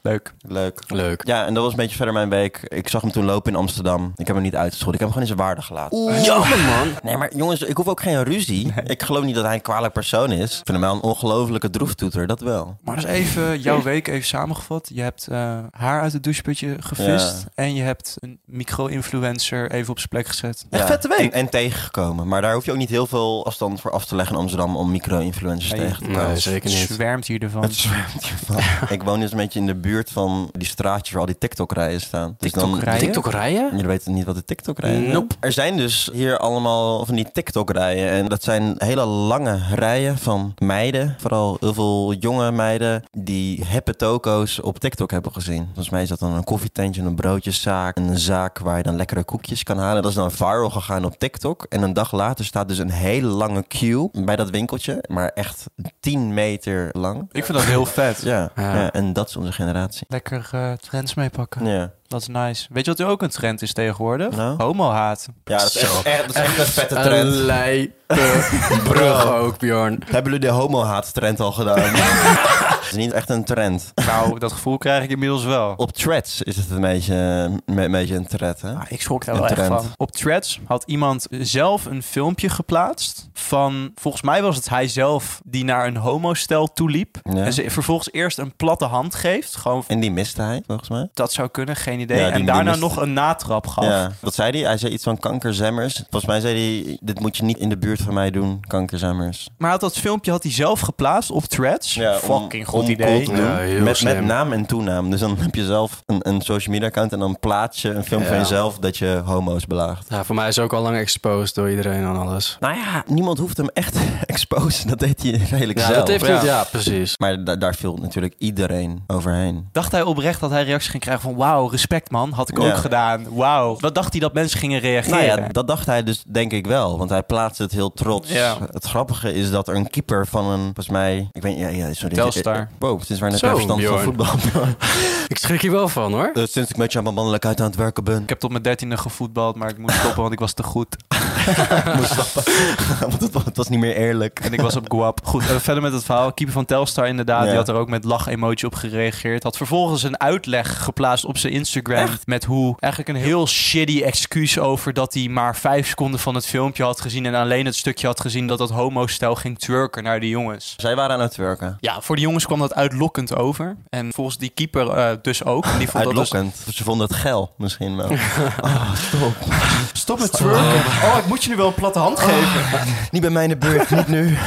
[SPEAKER 2] Leuk.
[SPEAKER 1] Leuk.
[SPEAKER 3] Leuk.
[SPEAKER 1] Ja, en dat was een beetje verder mijn week. Ik zag hem toen lopen in Amsterdam. Ik heb hem niet uitgescholden. Ik heb hem gewoon in zijn waarde gelaten.
[SPEAKER 3] Jammer, man.
[SPEAKER 1] Nee, maar jongens, ik hoef ook geen ruzie. Ik geloof niet dat hij een kwalijk persoon is. Ik vind hem wel een ongelofelijke droeftoeter, dat wel.
[SPEAKER 2] Maar dus
[SPEAKER 1] <laughs>
[SPEAKER 2] even jouw week even samengevat. Je hebt eh, haar uit het doucheputje gevist.
[SPEAKER 1] Ja.
[SPEAKER 2] En je hebt een micro-influencer even op zijn plek gezet.
[SPEAKER 1] Echt vette week. En, en tegengekomen. Maar daar hoef je ook niet heel veel afstand voor af te leggen in Amsterdam om micro-influencers
[SPEAKER 2] Nee,
[SPEAKER 1] tegen te komen.
[SPEAKER 3] Nee, zeker
[SPEAKER 2] Het
[SPEAKER 3] niet.
[SPEAKER 2] zwermt hier ervan.
[SPEAKER 1] Het zwermt hiervan. <laughs> ik woon dus een beetje in de buurt van die straatjes waar al die TikTok-rijen staan. Dus dan-
[SPEAKER 2] TikTok-rijen?
[SPEAKER 3] TikTok rijden?
[SPEAKER 1] Jullie weten niet wat de TikTok-rijen zijn.
[SPEAKER 3] Nope.
[SPEAKER 1] Er zijn dus hier allemaal van die TikTok-rijen. En dat zijn hele lange rijen van meiden. Vooral heel veel jonge meiden die heppe toko's op TikTok hebben gezien. Volgens mij is dat dan een koffietentje, een broodjeszaak. Een zaak waar je dan lekkere koekjes kan halen. Dat is dan viral gegaan op TikTok. En een dag later staat dus een hele lange queue bij dat winkeltje. Maar echt 10 meter lang.
[SPEAKER 2] Ik vind dat heel vet.
[SPEAKER 1] Ja,
[SPEAKER 3] Ja.
[SPEAKER 1] ja, en dat is onze generatie.
[SPEAKER 2] Lekker eh, trends meepakken.
[SPEAKER 1] Ja,
[SPEAKER 2] Dat is nice. Weet je wat er ook een trend is tegenwoordig?
[SPEAKER 1] Nou?
[SPEAKER 2] Homo-haat.
[SPEAKER 1] ja dat, is echt, echt- dat is echt een
[SPEAKER 3] <laughs>
[SPEAKER 1] vette
[SPEAKER 3] Een
[SPEAKER 1] trend.
[SPEAKER 3] lijpe brug ook, Bjorn.
[SPEAKER 1] Hebben jullie de homo-haat-trend al gedaan? <laughs> Het is niet echt een trend.
[SPEAKER 2] Nou, dat gevoel krijg ik inmiddels wel.
[SPEAKER 1] Op threads is het een beetje een, een, beetje een thread, hè?
[SPEAKER 2] ik schrok daar
[SPEAKER 1] Een
[SPEAKER 2] wel echt
[SPEAKER 1] trend.
[SPEAKER 2] van. Op Threads had iemand zelf een filmpje geplaatst van... Volgens mij was het hij zelf die naar een homostel toeliep.
[SPEAKER 1] Ja.
[SPEAKER 2] En ze vervolgens eerst een platte hand geeft. Gewoon,
[SPEAKER 1] En die miste hij, volgens mij.
[SPEAKER 2] dat zou kunnen, geen idee.
[SPEAKER 1] Ja, die-
[SPEAKER 2] en
[SPEAKER 1] die
[SPEAKER 2] daarna
[SPEAKER 1] mist-
[SPEAKER 2] nog een natrap gaf.
[SPEAKER 1] Ja. Wat zei hij? Hij zei iets van kankerzemmers. Volgens mij zei hij, dit moet je niet in de buurt van mij doen, kankerzemmers.
[SPEAKER 2] Maar had dat filmpje had hij zelf geplaatst op Threads.
[SPEAKER 1] Ja, om-
[SPEAKER 2] Fucking
[SPEAKER 1] om
[SPEAKER 2] goed
[SPEAKER 1] cool
[SPEAKER 2] idee.
[SPEAKER 1] te doen.
[SPEAKER 3] Ja, heel
[SPEAKER 1] met, met
[SPEAKER 3] slim.
[SPEAKER 1] naam en toenaam. Dus dan heb je zelf een, een social media account en dan plaats je een film van
[SPEAKER 3] Ja.
[SPEAKER 1] jezelf dat je homo's belaagt.
[SPEAKER 3] Ja, voor mij is ook al lang exposed door iedereen en alles.
[SPEAKER 1] Nou ja, niemand hoeft hem echt <laughs> te exposen. Dat deed hij redelijk
[SPEAKER 3] Ja,
[SPEAKER 1] zelf.
[SPEAKER 3] dat heeft
[SPEAKER 2] ja.
[SPEAKER 3] niet... Ja, precies.
[SPEAKER 1] Maar da- daar viel natuurlijk iedereen overheen.
[SPEAKER 2] Dacht hij oprecht dat hij reacties ging krijgen van... Wauw, respect man, had ik
[SPEAKER 1] Ja.
[SPEAKER 2] ook gedaan. Wauw. Wat dacht hij dat mensen gingen reageren?
[SPEAKER 1] Nou ja, dat dacht hij dus denk ik wel. Want hij plaatste het heel trots.
[SPEAKER 2] Ja.
[SPEAKER 1] Het grappige is dat er een keeper van een, volgens mij... Ik weet ja, ja, sorry.
[SPEAKER 2] Telstar.
[SPEAKER 1] Wow, sinds waar net
[SPEAKER 3] Zo,
[SPEAKER 1] mijn verstand van
[SPEAKER 3] Bjorn.
[SPEAKER 1] voetbal. <laughs>
[SPEAKER 3] Ik schrik hier wel van, hoor.
[SPEAKER 1] Eh, sinds ik met je aan mijn mannelijkheid aan het werken ben. <laughs>
[SPEAKER 2] Ik heb tot mijn dertiende gevoetbald, maar ik moest stoppen, want ik was te goed.
[SPEAKER 1] moest stappen. <laughs> want het, wa- het was niet meer eerlijk.
[SPEAKER 2] En ik was op Guap. <laughs> Goed, eh, verder met het verhaal. Keeper van Telstar inderdaad,
[SPEAKER 1] Ja.
[SPEAKER 2] die had er ook met lach-emoji op gereageerd. Had vervolgens een uitleg geplaatst op zijn Instagram. Met hoe eigenlijk een heel shitty excuus over dat hij maar vijf seconden van het filmpje had gezien. En alleen het stukje had gezien dat dat homostel ging twerken naar die jongens.
[SPEAKER 1] Zij waren aan het werken.
[SPEAKER 2] Ja, voor die jongens kwam dat uitlokkend over. En volgens die keeper eh, dus ook. En Die vond dat dus
[SPEAKER 1] Uitlokkend. Ze vonden het geil misschien <laughs> wel. Oh, stop.
[SPEAKER 2] Stop met twerken.
[SPEAKER 5] Ah.
[SPEAKER 2] Oh, ik moet je nu wel een platte hand geven.
[SPEAKER 1] Niet bij mij in de buurt, niet nu.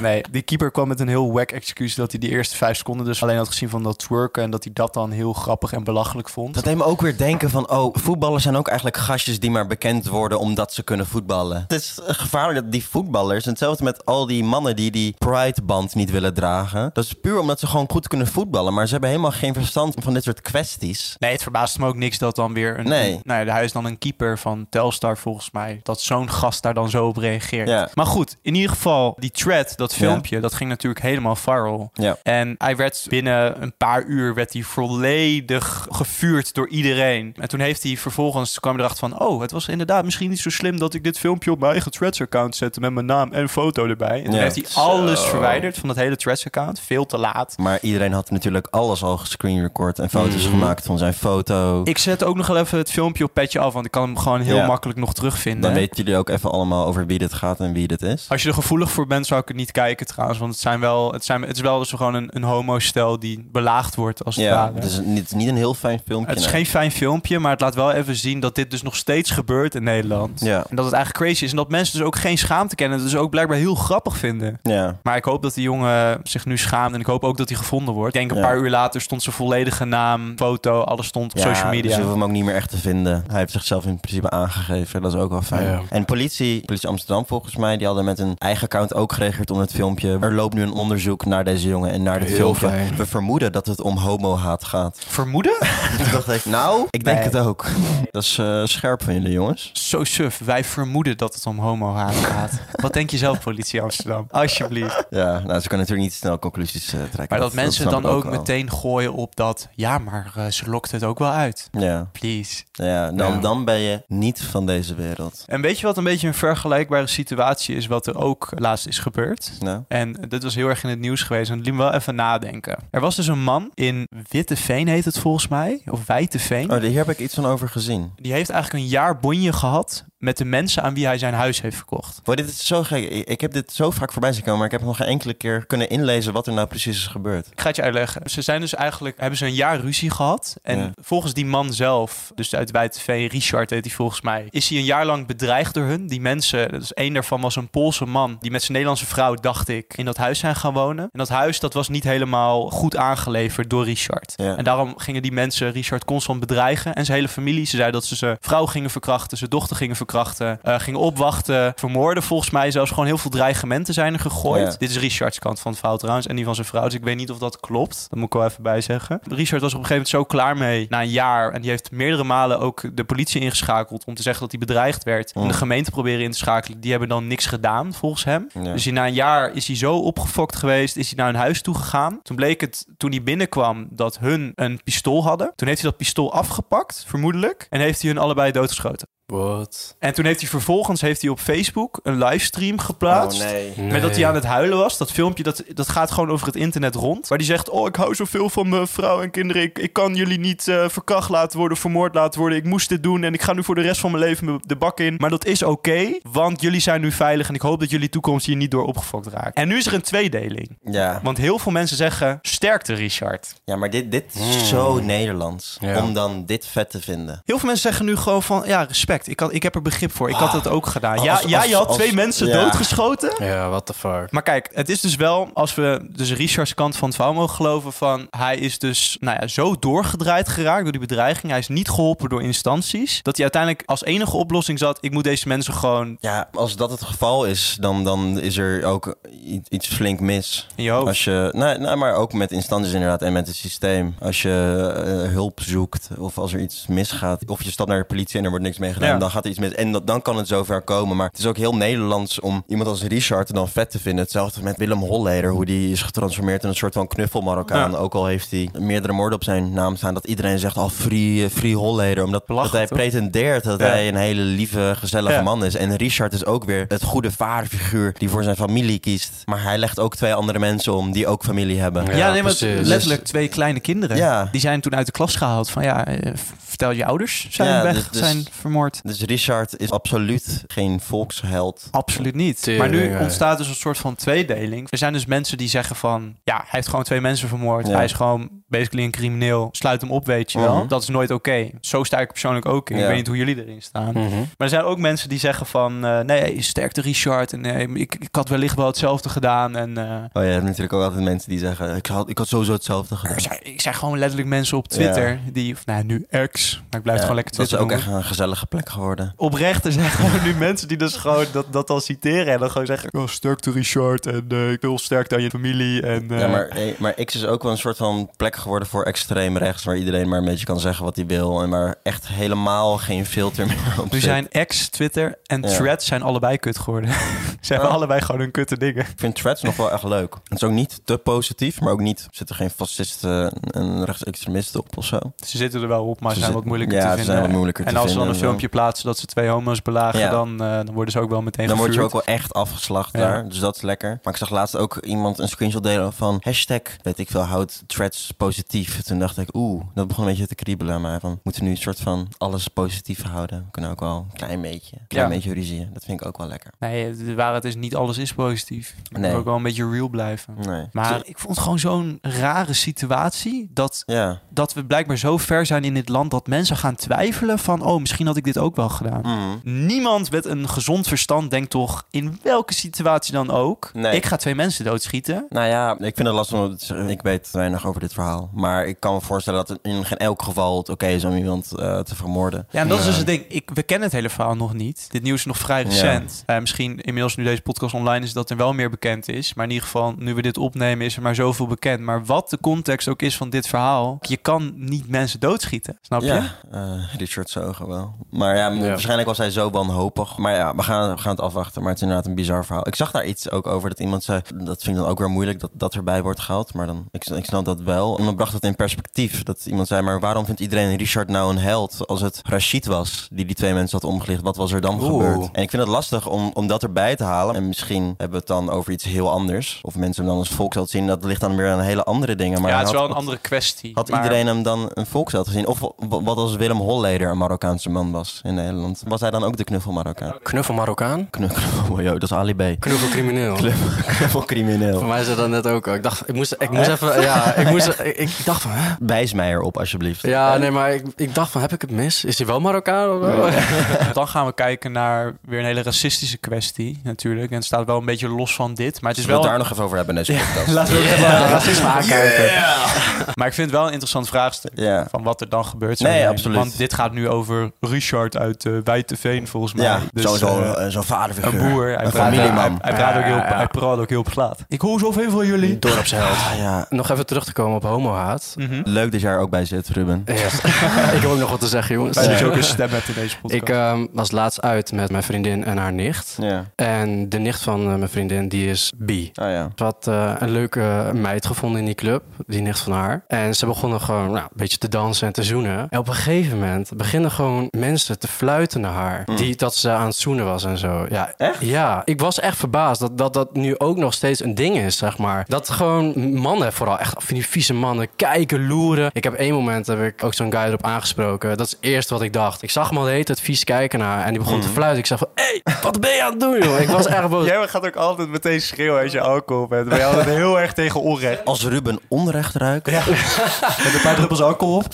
[SPEAKER 2] Nee, die keeper kwam met een heel wack excuus dat hij die eerste vijf seconden dus alleen had gezien van dat twerken. En dat hij dat dan heel grappig en belachelijk vond.
[SPEAKER 1] Dat deed me ook weer denken van, oh, voetballers zijn ook eigenlijk gastjes die maar bekend worden omdat ze kunnen voetballen. Het is gevaarlijk dat die voetballers, en hetzelfde met al die mannen die die Pride-band niet willen dragen. Dat is puur omdat ze gewoon goed kunnen voetballen, maar ze hebben helemaal geen verstand van dit soort kwesties.
[SPEAKER 2] Nee, het verbaast me ook niks dat dan weer een...
[SPEAKER 1] Nee.
[SPEAKER 2] een- nou ja, hij is dan een keeper van Telstar volgens mij. Dat zo'n gast daar dan zo op reageert.
[SPEAKER 1] Ja.
[SPEAKER 2] Maar goed, in ieder geval die thread, dat filmpje, dat ging natuurlijk helemaal viral.
[SPEAKER 1] Ja.
[SPEAKER 2] En hij werd binnen een paar uur werd hij volledig gevuurd door iedereen. En toen heeft hij vervolgens toen kwam hij erachter van... oh, het was inderdaad misschien niet zo slim... dat ik dit filmpje op mijn eigen Threads-account zette... met mijn naam en foto erbij. En toen
[SPEAKER 1] Ja.
[SPEAKER 2] heeft hij alles verwijderd van dat hele Threads-account. Veel te laat.
[SPEAKER 1] Maar iedereen had natuurlijk alles al gescreenrecord en foto's gemaakt van zijn foto.
[SPEAKER 2] Mhm. Ik zet ook nog wel even het filmpje op Petje af... want ik kan hem gewoon heel
[SPEAKER 1] Ja.
[SPEAKER 2] makkelijk nog terugvinden.
[SPEAKER 1] Dan weten jullie ook even allemaal over wie dit gaat en wie dit is.
[SPEAKER 2] Als je er gevoelig voor bent, zou ik het niet kijken trouwens. Want het, zijn wel, het, zijn, het is wel dus gewoon een, een homo-stel die belaagd wordt als het
[SPEAKER 1] Ja,
[SPEAKER 2] ware.
[SPEAKER 1] het is niet, het is niet een heel fijn filmpje.
[SPEAKER 2] Het is
[SPEAKER 1] nee.
[SPEAKER 2] geen fijn filmpje, maar het laat wel even zien dat dit dus nog steeds gebeurt in Nederland.
[SPEAKER 1] Ja.
[SPEAKER 2] En dat het eigenlijk crazy is. En dat mensen dus ook geen schaamte kennen. en het Dus ook blijkbaar heel grappig vinden.
[SPEAKER 1] Ja.
[SPEAKER 2] Maar ik hoop dat die jongen zich nu schaamt. En ik hoop ook dat hij gevonden wordt. Ik denk een
[SPEAKER 1] Ja.
[SPEAKER 2] paar uur later stond zijn volledige naam, foto, alles stond op
[SPEAKER 1] Ja,
[SPEAKER 2] social
[SPEAKER 1] dus
[SPEAKER 2] media.
[SPEAKER 1] we hoeven hem ook niet meer echt te vinden. Hij heeft zichzelf in principe aangegeven. Dat is ook wel fijn.
[SPEAKER 3] Ja.
[SPEAKER 1] En politie, politie Amsterdam volgens mij, die hadden met een eigen account ook gereageerd onder het filmpje. Er loopt nu een onderzoek naar deze jongen en naar dit
[SPEAKER 3] Heel
[SPEAKER 1] filmpje.
[SPEAKER 3] fijn.
[SPEAKER 1] We vermoeden dat het om homohaat gaat. <laughs>
[SPEAKER 2] Vermoeden?
[SPEAKER 1] Toen dacht ik, nou, ik denk
[SPEAKER 2] Nee.
[SPEAKER 1] het ook. <laughs> Dat is eh, scherp van jullie jongens.
[SPEAKER 2] Zo suf. Wij vermoeden dat het om homo-haat
[SPEAKER 1] <laughs>
[SPEAKER 2] gaat. Wat denk je zelf, politie Amsterdam? Alsjeblieft.
[SPEAKER 1] Ja, nou, ze kunnen natuurlijk niet snel conclusies eh, trekken.
[SPEAKER 2] Maar dat, mensen
[SPEAKER 1] snap
[SPEAKER 2] dan
[SPEAKER 1] ik
[SPEAKER 2] ook,
[SPEAKER 1] wel.
[SPEAKER 2] meteen gooien op dat... Ja, maar eh, ze lokt het ook wel uit.
[SPEAKER 1] Ja,
[SPEAKER 2] Please.
[SPEAKER 1] ja, dan,
[SPEAKER 3] Ja.
[SPEAKER 1] dan ben je niet van deze wereld.
[SPEAKER 2] En weet je wat een beetje een vergelijkbare situatie is... wat er ook laatst is gebeurd?
[SPEAKER 1] Nou,
[SPEAKER 2] En dit was heel erg in het nieuws geweest. En het liet me wel even nadenken. Er was dus een man in Witteveen heet het volgens mij. Of Wijteveen.
[SPEAKER 1] oh, hier heb ik iets van over gezien.
[SPEAKER 2] Die heeft eigenlijk een jaar bonje gehad... met de mensen aan wie hij zijn huis heeft verkocht.
[SPEAKER 1] Boy, dit is zo gek. Ik ik heb dit zo vaak voorbij zien komen, maar ik heb nog geen enkele keer kunnen inlezen wat er nou precies is gebeurd.
[SPEAKER 2] Ik ga het je uitleggen. Ze zijn dus eigenlijk, hebben ze een jaar ruzie gehad. En
[SPEAKER 1] Ja.
[SPEAKER 2] volgens die man zelf, dus uit Wijteveen, Richard heet hij volgens mij, is hij een jaar lang bedreigd door hun. Die mensen, dus één daarvan was een Poolse man, die met zijn Nederlandse vrouw, dacht ik, in dat huis zijn gaan wonen. En dat huis, dat was niet helemaal goed aangeleverd door Richard.
[SPEAKER 1] Ja.
[SPEAKER 2] En daarom gingen die mensen Richard constant bedreigen. En zijn hele familie, ze zeiden dat ze zijn vrouw gingen verkrachten, zijn dochter gingen verkrachten, eh, gingen opwachten, vermoorden. Volgens mij zelfs gewoon heel veel dreigementen zijn er gegooid.
[SPEAKER 1] Ja.
[SPEAKER 2] Dit is Richards kant van het verhaal trouwens. En die van zijn vrouw. Dus ik weet niet of dat klopt. Dat moet ik wel even bij zeggen. Richard was op een gegeven moment zo klaar mee na een jaar. En die heeft meerdere malen ook de politie ingeschakeld. om te zeggen dat hij bedreigd werd. En
[SPEAKER 1] Mm.
[SPEAKER 2] de gemeente proberen in te schakelen. Die hebben dan niks gedaan volgens hem.
[SPEAKER 1] Ja.
[SPEAKER 2] Dus hij, na een jaar is hij zo opgefokt geweest. is hij naar hun huis toegegaan. Toen bleek het, toen hij binnenkwam, dat hun een pistool hadden. Toen heeft hij dat pistool afgepakt, vermoedelijk. En heeft hij hun allebei doodgeschoten.
[SPEAKER 3] Wat?
[SPEAKER 2] En toen heeft hij vervolgens heeft hij op Facebook een livestream geplaatst.
[SPEAKER 1] Oh, nee.
[SPEAKER 2] Met dat hij aan het huilen was. Dat filmpje dat, dat gaat gewoon over het internet rond. Waar die zegt: Oh, ik hou zoveel van mijn vrouw en kinderen. Ik, ik kan jullie niet eh, verkracht laten worden, vermoord laten worden. Ik moest dit doen en ik ga nu voor de rest van mijn leven me- de bak in. Maar dat is oké, want jullie zijn nu veilig. En ik hoop dat jullie toekomst hier niet door opgefokt raakt. En nu is er een tweedeling.
[SPEAKER 1] Ja.
[SPEAKER 2] Want heel veel mensen zeggen: Sterkte, Richard.
[SPEAKER 1] ja, maar dit, dit is zo Nederlands.
[SPEAKER 3] Ja.
[SPEAKER 1] Om dan dit vet te vinden.
[SPEAKER 2] Heel veel mensen zeggen nu gewoon van, ja, respect. Ik, had, ik heb er begrip voor. Ik had dat ook gedaan. Ja,
[SPEAKER 1] Ah. Als-
[SPEAKER 2] ja
[SPEAKER 1] als-
[SPEAKER 2] je had
[SPEAKER 1] als-
[SPEAKER 2] twee mensen
[SPEAKER 1] ja.
[SPEAKER 2] doodgeschoten.
[SPEAKER 3] Ja, what the fuck.
[SPEAKER 2] Maar kijk, het is dus wel, als we dus Richards kant van het verhaal mogen geloven, van hij is dus nou ja, zo doorgedraaid geraakt door die bedreiging. Hij is niet geholpen door instanties. Dat hij uiteindelijk als enige oplossing zat, ik moet deze mensen gewoon
[SPEAKER 1] Ja, als dat het geval is, dan, dan is er ook i- iets flink mis.
[SPEAKER 2] in je hoofd.
[SPEAKER 1] Als je, nou, nou, maar ook met instanties inderdaad en met het systeem. Als je eh, hulp zoekt of als er iets misgaat. Of je stapt naar de politie en er wordt niks mee gedaan.
[SPEAKER 2] Ja.
[SPEAKER 1] En dan gaat er iets mis. En dat, dan kan het zover komen. Maar het is ook heel Nederlands om iemand als Richard dan vet te vinden. Hetzelfde met Willem Holleder, hoe die is getransformeerd in een soort van knuffel Marokkaan.
[SPEAKER 2] Ja.
[SPEAKER 1] Ook al heeft hij meerdere moorden op zijn naam staan. Dat iedereen zegt, oh, free, eh, free Holleder. Omdat dat
[SPEAKER 2] Belachelijk,
[SPEAKER 1] hij
[SPEAKER 2] toch?
[SPEAKER 1] pretendeert dat
[SPEAKER 2] Ja.
[SPEAKER 1] hij een hele lieve, gezellige
[SPEAKER 2] Ja.
[SPEAKER 1] man is. En Richard is ook weer het goede vaderfiguur die voor zijn familie kiest. Maar hij legt ook twee andere mensen om die ook familie hebben.
[SPEAKER 3] Ja.
[SPEAKER 2] Ja, nee, maar
[SPEAKER 3] precies.
[SPEAKER 2] letterlijk twee kleine kinderen.
[SPEAKER 1] Ja.
[SPEAKER 2] Die zijn toen uit de klas gehaald van ja, eh, v- vertel je ouders zijn
[SPEAKER 1] Ja,
[SPEAKER 2] weg,
[SPEAKER 1] dus- dus-
[SPEAKER 2] zijn vermoord.
[SPEAKER 1] Dus Richard is absoluut geen volksheld.
[SPEAKER 2] Absoluut niet.
[SPEAKER 3] Tering,
[SPEAKER 2] maar nu
[SPEAKER 3] ja.
[SPEAKER 2] ontstaat dus een soort van tweedeling. Er zijn dus mensen die zeggen van... ja, hij heeft gewoon twee mensen vermoord.
[SPEAKER 1] Ja.
[SPEAKER 2] Hij is gewoon basically een crimineel. Sluit hem op, weet je wel.
[SPEAKER 1] Mhm.
[SPEAKER 2] Dat is nooit oké. Zo sta ik er persoonlijk ook in. Ik
[SPEAKER 1] Ja.
[SPEAKER 2] weet niet hoe jullie erin staan. Maar er zijn ook mensen die zeggen van... eh, nee, sterkte Richard. En eh, ik, ik had wellicht wel hetzelfde gedaan. En eh,
[SPEAKER 1] Oh ja, je hebt natuurlijk ook altijd mensen die zeggen... ik had, ik had sowieso hetzelfde gedaan.
[SPEAKER 2] er zijn, ik zijn gewoon letterlijk mensen op Twitter... die, of nou nu ex, maar ik blijf het
[SPEAKER 1] Ja,
[SPEAKER 2] gewoon lekker
[SPEAKER 1] dat is
[SPEAKER 2] Twitter
[SPEAKER 1] ook
[SPEAKER 2] noemen.
[SPEAKER 1] echt een gezellige plek geworden.
[SPEAKER 2] Oprecht, er zijn <laughs> gewoon nu mensen die dus gewoon dat, dat dan citeren. En dan gewoon zeggen, oh, sterkte Richard. En eh, ik wil sterkte aan je familie. En, eh,
[SPEAKER 1] Ja, maar, eh, maar X is ook wel een soort van plek geworden voor extreem rechts... waar iedereen maar een beetje kan zeggen wat hij wil... en waar echt helemaal geen filter meer op
[SPEAKER 2] Nu
[SPEAKER 1] zit.
[SPEAKER 2] zijn ex, Twitter en
[SPEAKER 1] Ja.
[SPEAKER 2] Threads zijn allebei kut geworden. <laughs> Ze hebben
[SPEAKER 1] Oh.
[SPEAKER 2] allebei gewoon hun kutte dingen.
[SPEAKER 1] Ik vind threads nog wel echt leuk. Het is ook niet te positief, maar ook niet... er zitten geen fascisten en rechtsextremisten op of zo.
[SPEAKER 2] Ze zitten er wel op, maar
[SPEAKER 1] Ze
[SPEAKER 2] zijn
[SPEAKER 1] zit-
[SPEAKER 2] wat moeilijker
[SPEAKER 1] ja,
[SPEAKER 2] te
[SPEAKER 1] ze
[SPEAKER 2] vinden.
[SPEAKER 1] zijn wat moeilijker
[SPEAKER 2] en
[SPEAKER 1] te
[SPEAKER 2] als ze dan
[SPEAKER 1] vinden
[SPEAKER 2] een
[SPEAKER 1] en zo.
[SPEAKER 2] filmpje plaatsen dat ze twee homo's belagen,
[SPEAKER 1] Ja.
[SPEAKER 2] dan, eh, dan worden ze ook wel meteen
[SPEAKER 1] Dan word je ook
[SPEAKER 2] vervuurd.
[SPEAKER 1] wel echt afgeslacht
[SPEAKER 2] Ja.
[SPEAKER 1] daar. Dus dat is lekker. Maar ik zag laatst ook iemand een screenshot delen van hashtag, weet ik veel, houd threads positief. Toen dacht ik, oeh, dat begon een beetje te kriebelen aan mij. Van, we moeten nu een soort van alles positief houden. We kunnen ook wel een klein beetje, klein
[SPEAKER 2] Ja.
[SPEAKER 1] beetje ruzie. Dat vind ik ook wel lekker.
[SPEAKER 2] Nee, de waarheid is niet alles is positief. Je
[SPEAKER 1] Nee.
[SPEAKER 2] moet ook wel een beetje real blijven.
[SPEAKER 1] Nee.
[SPEAKER 2] Maar ik vond het gewoon zo'n rare situatie dat,
[SPEAKER 1] Ja.
[SPEAKER 2] dat we blijkbaar zo ver zijn in dit land dat mensen gaan twijfelen van, oh, misschien had ik dit ook wel gedaan.
[SPEAKER 1] Mm.
[SPEAKER 2] Niemand met een gezond verstand denkt toch, in welke situatie dan ook,
[SPEAKER 1] Nee.
[SPEAKER 2] ik ga twee mensen doodschieten.
[SPEAKER 1] Nou ja, ik vind het lastig, om te zeggen. ik weet weinig over dit verhaal. Maar ik kan me voorstellen dat het in geen elk geval het oké is om iemand eh, te vermoorden.
[SPEAKER 2] Ja, en dat is dus het ding. Ik, we kennen het hele verhaal nog niet. Dit nieuws is nog vrij
[SPEAKER 1] Ja.
[SPEAKER 2] recent. Eh, misschien inmiddels nu deze podcast online is dat er wel meer bekend is. Maar in ieder geval, nu we dit opnemen, is er maar zoveel bekend. Maar wat de context ook is van dit verhaal, je kan niet mensen doodschieten. Snap je?
[SPEAKER 1] Ja, eh, Richard Zogen wel. Maar ja, m-
[SPEAKER 3] Ja.
[SPEAKER 1] waarschijnlijk was hij zo wanhopig. Maar ja, we gaan, we gaan het afwachten. Maar het is inderdaad een bizar verhaal. Ik zag daar iets ook over dat iemand zei... dat vind ik dan ook weer moeilijk dat dat erbij wordt gehaald. Maar dan, ik, ik snap dat wel. En dan bracht het in perspectief. Dat iemand zei, maar waarom vindt iedereen Richard nou een held... als het Rashid was die die twee mensen had omgelicht? Wat was er dan
[SPEAKER 3] Oeh.
[SPEAKER 1] gebeurd? En ik vind het lastig om, om dat erbij te halen. En misschien hebben we het dan over iets heel anders. Of mensen hem dan als volksheld zien. Dat ligt dan weer aan hele andere dingen. Maar
[SPEAKER 2] ja,
[SPEAKER 1] hij
[SPEAKER 2] het is
[SPEAKER 1] had-
[SPEAKER 2] wel een andere kwestie.
[SPEAKER 1] had
[SPEAKER 2] maar-
[SPEAKER 1] iedereen hem dan een volksheld gezien? Of wa- wat als Willem Holleder een Marokkaanse man was in Nederland? Was hij dan ook de knuffel Marokkaan?
[SPEAKER 3] Knuffel Marokkaan?
[SPEAKER 1] Knuffel, oh, yo, dat is Ali
[SPEAKER 2] <laughs>
[SPEAKER 1] B.
[SPEAKER 3] Knuffel crimineel.
[SPEAKER 1] Knuffel
[SPEAKER 3] Voor
[SPEAKER 1] crimineel.
[SPEAKER 3] mij zei dat net ook. Ik dacht, ik moest, ik moest even. Ja, ik moest. Ik, ik dacht van. Hè?
[SPEAKER 1] Wijs mij erop alsjeblieft.
[SPEAKER 3] Ja, nee, maar ik, ik dacht van, heb ik het mis? Is hij wel Marokkaan? Of wel?
[SPEAKER 2] <laughs> Dan gaan we kijken naar weer een hele racistische kwestie natuurlijk. En het staat wel een beetje los van dit. Maar het is
[SPEAKER 1] Zullen
[SPEAKER 2] wel...
[SPEAKER 1] we het daar nog even over hebben in deze podcast?
[SPEAKER 2] <laughs> Laten we het
[SPEAKER 3] Ja,
[SPEAKER 2] even-
[SPEAKER 3] racisme aankijken.
[SPEAKER 2] <laughs> Maar ik vind het wel een interessant vraagstuk.
[SPEAKER 1] Ja.
[SPEAKER 2] Van wat er dan gebeurt.
[SPEAKER 1] Nee,
[SPEAKER 2] zijn.
[SPEAKER 1] absoluut.
[SPEAKER 2] Want dit gaat nu over Richard uit eh Wijteveen, volgens mij.
[SPEAKER 1] Ja,
[SPEAKER 2] Dus,
[SPEAKER 1] zo'n
[SPEAKER 2] eh,
[SPEAKER 1] zo, zo
[SPEAKER 2] een
[SPEAKER 1] vaderfiguur.
[SPEAKER 2] boer. Hij
[SPEAKER 1] een
[SPEAKER 2] praat-
[SPEAKER 1] familieman.
[SPEAKER 2] Hij, hij praat ook heel, hij praat ook heel plaat. Ik hoor zoveel van jullie.
[SPEAKER 3] Dorpsheld.
[SPEAKER 1] Ah, ja.
[SPEAKER 3] Nog even terug te komen op homohaat.
[SPEAKER 2] Mhm.
[SPEAKER 1] Leuk dat jij er ook bij zit, Ruben.
[SPEAKER 3] Yes. <laughs> ik heb ook nog wat te zeggen, jongens.
[SPEAKER 2] Fijn dat je
[SPEAKER 3] <laughs>
[SPEAKER 2] ook een stem hebt in deze podcast.
[SPEAKER 3] Ik ehm, was laatst uit met mijn vriendin en haar nicht.
[SPEAKER 1] Ja.
[SPEAKER 3] En de nicht van eh, mijn vriendin, die is bi.
[SPEAKER 1] Ah ja.
[SPEAKER 3] Ze had eh, een leuke meid gevonden in die club, die nicht van haar. En ze begonnen gewoon nou, een beetje te dansen en te zoenen. En op een gegeven moment beginnen gewoon mensen te fluiten naar haar. Die, dat ze aan het zoenen was en zo. Ja,
[SPEAKER 1] Echt?
[SPEAKER 3] Ja, ik was echt verbaasd dat, dat dat nu ook nog steeds een ding is, zeg maar. Dat gewoon mannen, vooral echt van die vieze mannen, kijken, loeren. Ik heb één moment, heb ik ook zo'n guy erop aangesproken. Dat is het eerste wat ik dacht. Ik zag hem al de hele tijd vies kijken naar haar. En die begon te fluiten. Ik zei van, hé, hey, wat ben je aan het doen, joh? Ik was echt
[SPEAKER 5] <laughs>
[SPEAKER 3] boos.
[SPEAKER 2] Jij gaat ook altijd meteen schreeuwen als je alcohol bent. Maar jij altijd heel erg tegen onrecht.
[SPEAKER 1] Als Ruben onrecht ruikt... <laughs>
[SPEAKER 2] Met een paar druppels alcohol op.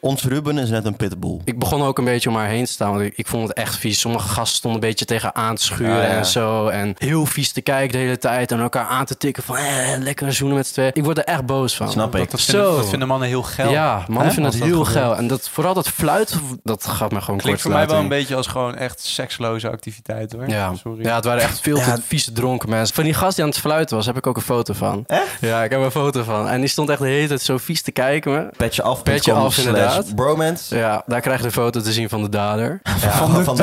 [SPEAKER 1] Ons Ruben is net een pitbull.
[SPEAKER 3] Ik begon ook een beetje om haar heen te staan, want ik, ik vond het echt vies. Sommige gasten stonden een beetje tegen aan te schuren
[SPEAKER 1] Ah, ja.
[SPEAKER 3] en zo. En heel vies te kijken de hele tijd en elkaar aan te tikken van eh, lekker zoenen met z'n tweeën. Ik word er echt boos van.
[SPEAKER 1] Snap ik.
[SPEAKER 2] Dat vinden,
[SPEAKER 3] Zo.
[SPEAKER 2] dat vinden mannen heel geil.
[SPEAKER 3] Ja,
[SPEAKER 2] Hè?
[SPEAKER 3] mannen vinden
[SPEAKER 2] Als
[SPEAKER 3] het
[SPEAKER 2] dat
[SPEAKER 3] heel
[SPEAKER 2] gebeurt.
[SPEAKER 3] geil. En dat, vooral dat fluiten, dat gaf me gewoon
[SPEAKER 2] Klinkt voor mij wel een
[SPEAKER 3] kortsluiting.
[SPEAKER 2] beetje als gewoon echt seksloze activiteit hoor.
[SPEAKER 3] Ja.
[SPEAKER 2] Sorry.
[SPEAKER 3] ja, het waren echt veel
[SPEAKER 1] Ja.
[SPEAKER 3] te vieze dronken mensen. Van die gast die aan het fluiten was, heb ik ook een foto van. Echt? Ja, ik heb een foto van. En die stond echt de hele tijd zo vies te kijken. me.
[SPEAKER 1] Petje af.
[SPEAKER 3] Petje af, inderdaad. inderdaad.
[SPEAKER 1] bromance.
[SPEAKER 3] Ja, daar krijg je de foto te zien van de dader.
[SPEAKER 1] van de,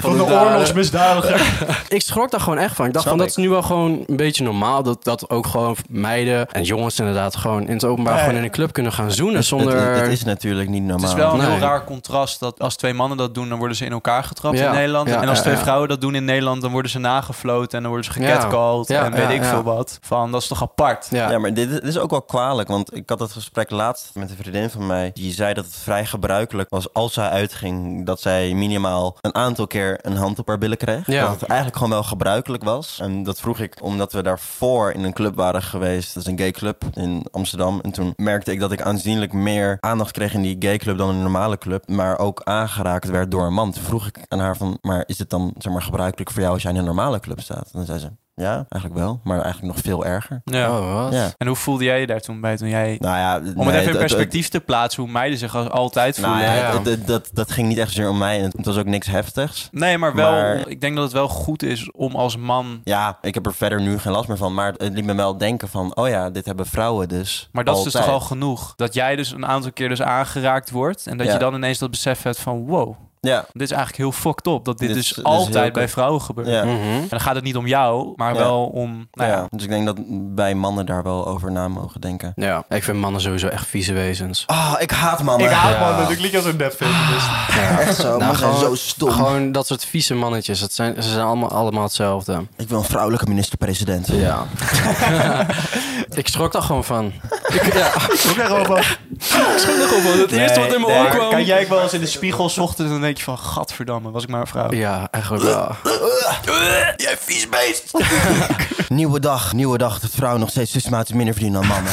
[SPEAKER 3] Van
[SPEAKER 2] de
[SPEAKER 3] dader.
[SPEAKER 2] oorlogsmisdadiger.
[SPEAKER 3] Ik schrok daar gewoon echt van. Ik dacht
[SPEAKER 1] Snap
[SPEAKER 3] van, dat
[SPEAKER 1] ik.
[SPEAKER 3] is nu wel gewoon een beetje normaal. Dat, dat ook gewoon meiden en jongens inderdaad gewoon in het openbaar
[SPEAKER 2] Nee.
[SPEAKER 3] gewoon in een club kunnen gaan zoenen zonder...
[SPEAKER 1] Het, het is natuurlijk niet normaal.
[SPEAKER 2] Het is wel een heel
[SPEAKER 3] Nee.
[SPEAKER 2] raar contrast dat als twee mannen dat doen, dan worden ze in elkaar getrapt
[SPEAKER 3] Ja.
[SPEAKER 2] in Nederland.
[SPEAKER 3] Ja,
[SPEAKER 2] en als
[SPEAKER 3] ja,
[SPEAKER 2] twee
[SPEAKER 3] ja.
[SPEAKER 2] vrouwen dat doen in Nederland, dan worden ze nagefloten en dan worden ze gecatcalled
[SPEAKER 3] Ja. Ja,
[SPEAKER 2] en weet
[SPEAKER 3] ja,
[SPEAKER 2] ik
[SPEAKER 3] ja.
[SPEAKER 2] veel wat. Van, dat is toch apart?
[SPEAKER 3] ja.
[SPEAKER 1] Ja, maar dit, dit is ook wel kwalijk. Want ik had het gesprek laatst met een vriendin van mij. Die zei dat het vrij gebruikelijk was als zij uitging. Dat zij minimaal een aantal keer een hand op haar billen kreeg.
[SPEAKER 3] Ja.
[SPEAKER 1] Dat het eigenlijk gewoon wel gebruikelijk was. En dat vroeg ik omdat we daarvoor in een club waren geweest. Dat is een gay club in Amsterdam. En toen merkte ik dat ik aanzienlijk meer aandacht kreeg in die gay club dan in een normale club. Maar ook aangeraakt werd door een man. Toen vroeg ik aan haar van, maar is het dan zeg maar, gebruikelijk voor jou als jij in een normale club staat? En dan zei ze, ja, eigenlijk wel. Maar eigenlijk nog veel erger.
[SPEAKER 2] Ja.
[SPEAKER 3] Oh, wat?
[SPEAKER 1] Ja.
[SPEAKER 2] En hoe voelde jij je daar toen bij toen jij...
[SPEAKER 1] Nou ja,
[SPEAKER 2] Om het even in perspectief te plaatsen, hoe meiden zich als- altijd voelen.
[SPEAKER 1] nou ja,
[SPEAKER 3] Ja.
[SPEAKER 1] het- het- dat, dat ging niet echt zozeer om mij. en Het was ook niks heftigs.
[SPEAKER 2] Nee, maar wel.
[SPEAKER 1] Maar-
[SPEAKER 2] Ik denk dat het wel goed is om als man.
[SPEAKER 1] Ja, ik heb er verder nu geen last meer van. Maar het liet me wel denken van, oh ja, dit hebben vrouwen dus
[SPEAKER 2] Maar dat is dus toch al
[SPEAKER 1] altijd.
[SPEAKER 2] genoeg. Dat jij dus een aantal keer dus aangeraakt wordt. En dat
[SPEAKER 1] Ja.
[SPEAKER 2] je dan ineens dat besef hebt van wow,
[SPEAKER 1] Ja,
[SPEAKER 2] dit is eigenlijk heel fucked up. Dat
[SPEAKER 1] Dit
[SPEAKER 2] dit,
[SPEAKER 1] is-
[SPEAKER 2] dus
[SPEAKER 1] dit is heel
[SPEAKER 2] altijd
[SPEAKER 1] kut.
[SPEAKER 2] bij vrouwen gebeurt.
[SPEAKER 1] ja,
[SPEAKER 3] Mhm.
[SPEAKER 2] En dan gaat het niet om jou, maar
[SPEAKER 1] Ja.
[SPEAKER 2] wel om. Mm. Nou ja.
[SPEAKER 1] ja. Dus ik denk dat wij mannen daar wel over na mogen denken.
[SPEAKER 3] Ja, ik vind mannen sowieso echt vieze wezens.
[SPEAKER 1] Ah, ik haat mannen.
[SPEAKER 3] Ja. man, dat ik
[SPEAKER 2] liedje als een nepfeminist.
[SPEAKER 1] Echt
[SPEAKER 2] Nou,
[SPEAKER 1] zo, mannen zijn zo stom.
[SPEAKER 3] Gewoon dat soort vieze mannetjes. Dat zijn, ze zijn allemaal, allemaal hetzelfde.
[SPEAKER 1] Ik wil een vrouwelijke minister-president.
[SPEAKER 3] Ja. <laughs> ik schrok daar gewoon van. Ik, ja, <laughs> het eerste wat in mijn oor kwam.
[SPEAKER 2] Kan jij ook wel eens in <laughs> de spiegel 's ochtends en dan denk je van gadverdamme, was ik maar een vrouw.
[SPEAKER 3] Ja, eigenlijk wel.
[SPEAKER 1] <laughs> Jij vies beest! <laughs> nieuwe dag, nieuwe dag. Dat vrouwen nog steeds systematisch minder verdienen dan mannen.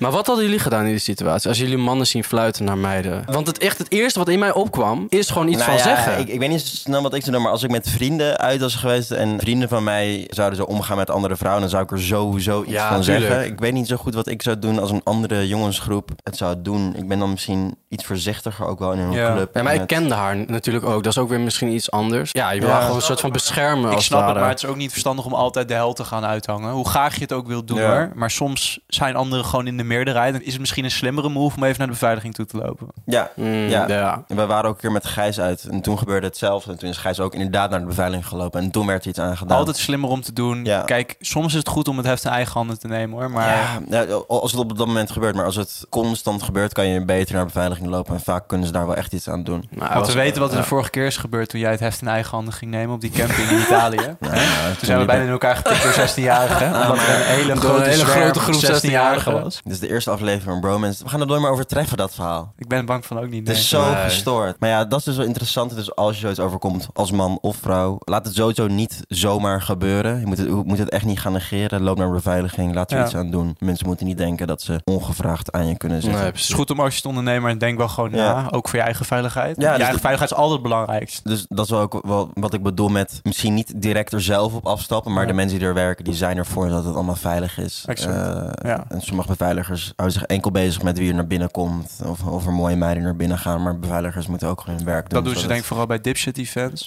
[SPEAKER 3] Maar wat hadden jullie gedaan in die situatie? Als jullie mannen zien fluiten naar meiden. Want het, echt, het eerste wat in mij opkwam, is gewoon iets
[SPEAKER 1] Nou
[SPEAKER 3] van
[SPEAKER 1] ja,
[SPEAKER 3] zeggen.
[SPEAKER 1] Ik, ik weet niet zo snel wat ik zou doen, maar als ik met vrienden uit was geweest en vrienden van mij zouden zo omgaan met andere vrouwen, dan zou ik er sowieso iets
[SPEAKER 3] Ja,
[SPEAKER 1] van
[SPEAKER 3] tuurlijk.
[SPEAKER 1] zeggen. Ik weet niet zo goed wat ik zou doen als een andere jongensgroep het zou doen. Ik ben dan misschien iets voorzichtiger ook wel in een
[SPEAKER 2] Ja.
[SPEAKER 1] club.
[SPEAKER 3] Ja, maar
[SPEAKER 1] En
[SPEAKER 3] ik
[SPEAKER 1] het-
[SPEAKER 3] kende haar natuurlijk ook. Dat is ook weer misschien iets anders. Ja, je wil
[SPEAKER 1] Ja.
[SPEAKER 3] haar gewoon een soort van beschermen
[SPEAKER 2] Ik
[SPEAKER 3] als
[SPEAKER 2] snap het,
[SPEAKER 3] ware.
[SPEAKER 2] maar het is ook niet verstandig om altijd de hel te gaan uithangen. Hoe graag je het ook wilt doen
[SPEAKER 1] Ja.
[SPEAKER 2] hoor. Maar soms zijn anderen gewoon in de meerderheid. Dan is het misschien een slimmere move om even naar de beveiliging toe te lopen.
[SPEAKER 1] Ja,
[SPEAKER 3] Mm,
[SPEAKER 1] ja.
[SPEAKER 3] ja.
[SPEAKER 1] We waren ook een keer met Gijs uit en toen gebeurde hetzelfde. En toen is Gijs ook inderdaad naar de beveiliging gelopen en toen werd er iets aangedaan.
[SPEAKER 2] Altijd slimmer om te doen.
[SPEAKER 1] Nou. Ja.
[SPEAKER 2] Kijk, soms is het goed om het heft in eigen handen te nemen hoor. Maar
[SPEAKER 1] Ja, ja, als het op dat moment gebeurt, maar als het constant gebeurt, kan je beter naar de beveiliging lopen. En vaak kunnen ze daar wel echt iets aan doen.
[SPEAKER 3] Nou, hij
[SPEAKER 2] want
[SPEAKER 3] was-
[SPEAKER 2] we weten wat er
[SPEAKER 3] ja.
[SPEAKER 2] de vorige keer is gebeurd toen jij het heft in eigen handen ging nemen op die camping in Italië.
[SPEAKER 1] Nou, ja,
[SPEAKER 2] Toen zijn we bijna in elkaar getikt door 16-jarigen. Omdat er een hele
[SPEAKER 3] Door een
[SPEAKER 2] grote,
[SPEAKER 3] hele
[SPEAKER 2] zwerm
[SPEAKER 3] grote groep
[SPEAKER 2] 16-jarigen
[SPEAKER 3] 16-jarigen.
[SPEAKER 2] was.
[SPEAKER 1] Dit is de eerste aflevering van Bromance. We gaan het nooit meer overtreffen, dat verhaal.
[SPEAKER 2] Ik ben bang van ook niet.
[SPEAKER 1] Het is
[SPEAKER 2] Nee.
[SPEAKER 1] Dus zo
[SPEAKER 3] Nee.
[SPEAKER 1] gestoord. Maar ja, dat is dus wel interessant. Dus als je zoiets overkomt als man of vrouw, laat het sowieso niet zomaar gebeuren. Je moet het, je moet het echt niet gaan negeren. Loop naar beveiliging, laat er
[SPEAKER 2] Ja.
[SPEAKER 1] iets aan doen. Mensen moeten niet denken dat ze ongevraagd aan je kunnen zitten.
[SPEAKER 3] Nee,
[SPEAKER 2] Het
[SPEAKER 3] precies.
[SPEAKER 2] is goed om als je het ondernemer en denk wel gewoon
[SPEAKER 1] Ja.
[SPEAKER 2] na. Ook voor je eigen veiligheid.
[SPEAKER 1] Ja,
[SPEAKER 2] je
[SPEAKER 1] dus
[SPEAKER 2] eigen
[SPEAKER 1] dat-
[SPEAKER 2] veiligheid is altijd het belangrijkste.
[SPEAKER 1] Dus dat is wel ook wel wat ik bedoel met misschien niet direct er zelf op afstappen, maar
[SPEAKER 2] Ja.
[SPEAKER 1] de mensen die er werken, die zijn ervoor dat het allemaal veilig is.
[SPEAKER 2] Exact.
[SPEAKER 1] Eh,
[SPEAKER 2] Ja.
[SPEAKER 1] En sommige beveiligers houden zich enkel bezig met wie er naar binnen komt of, of er mooie meiden naar binnen gaan, maar beveiligers moeten ook hun werk doen.
[SPEAKER 2] Dat doen ze denk ik vooral bij dipshit events.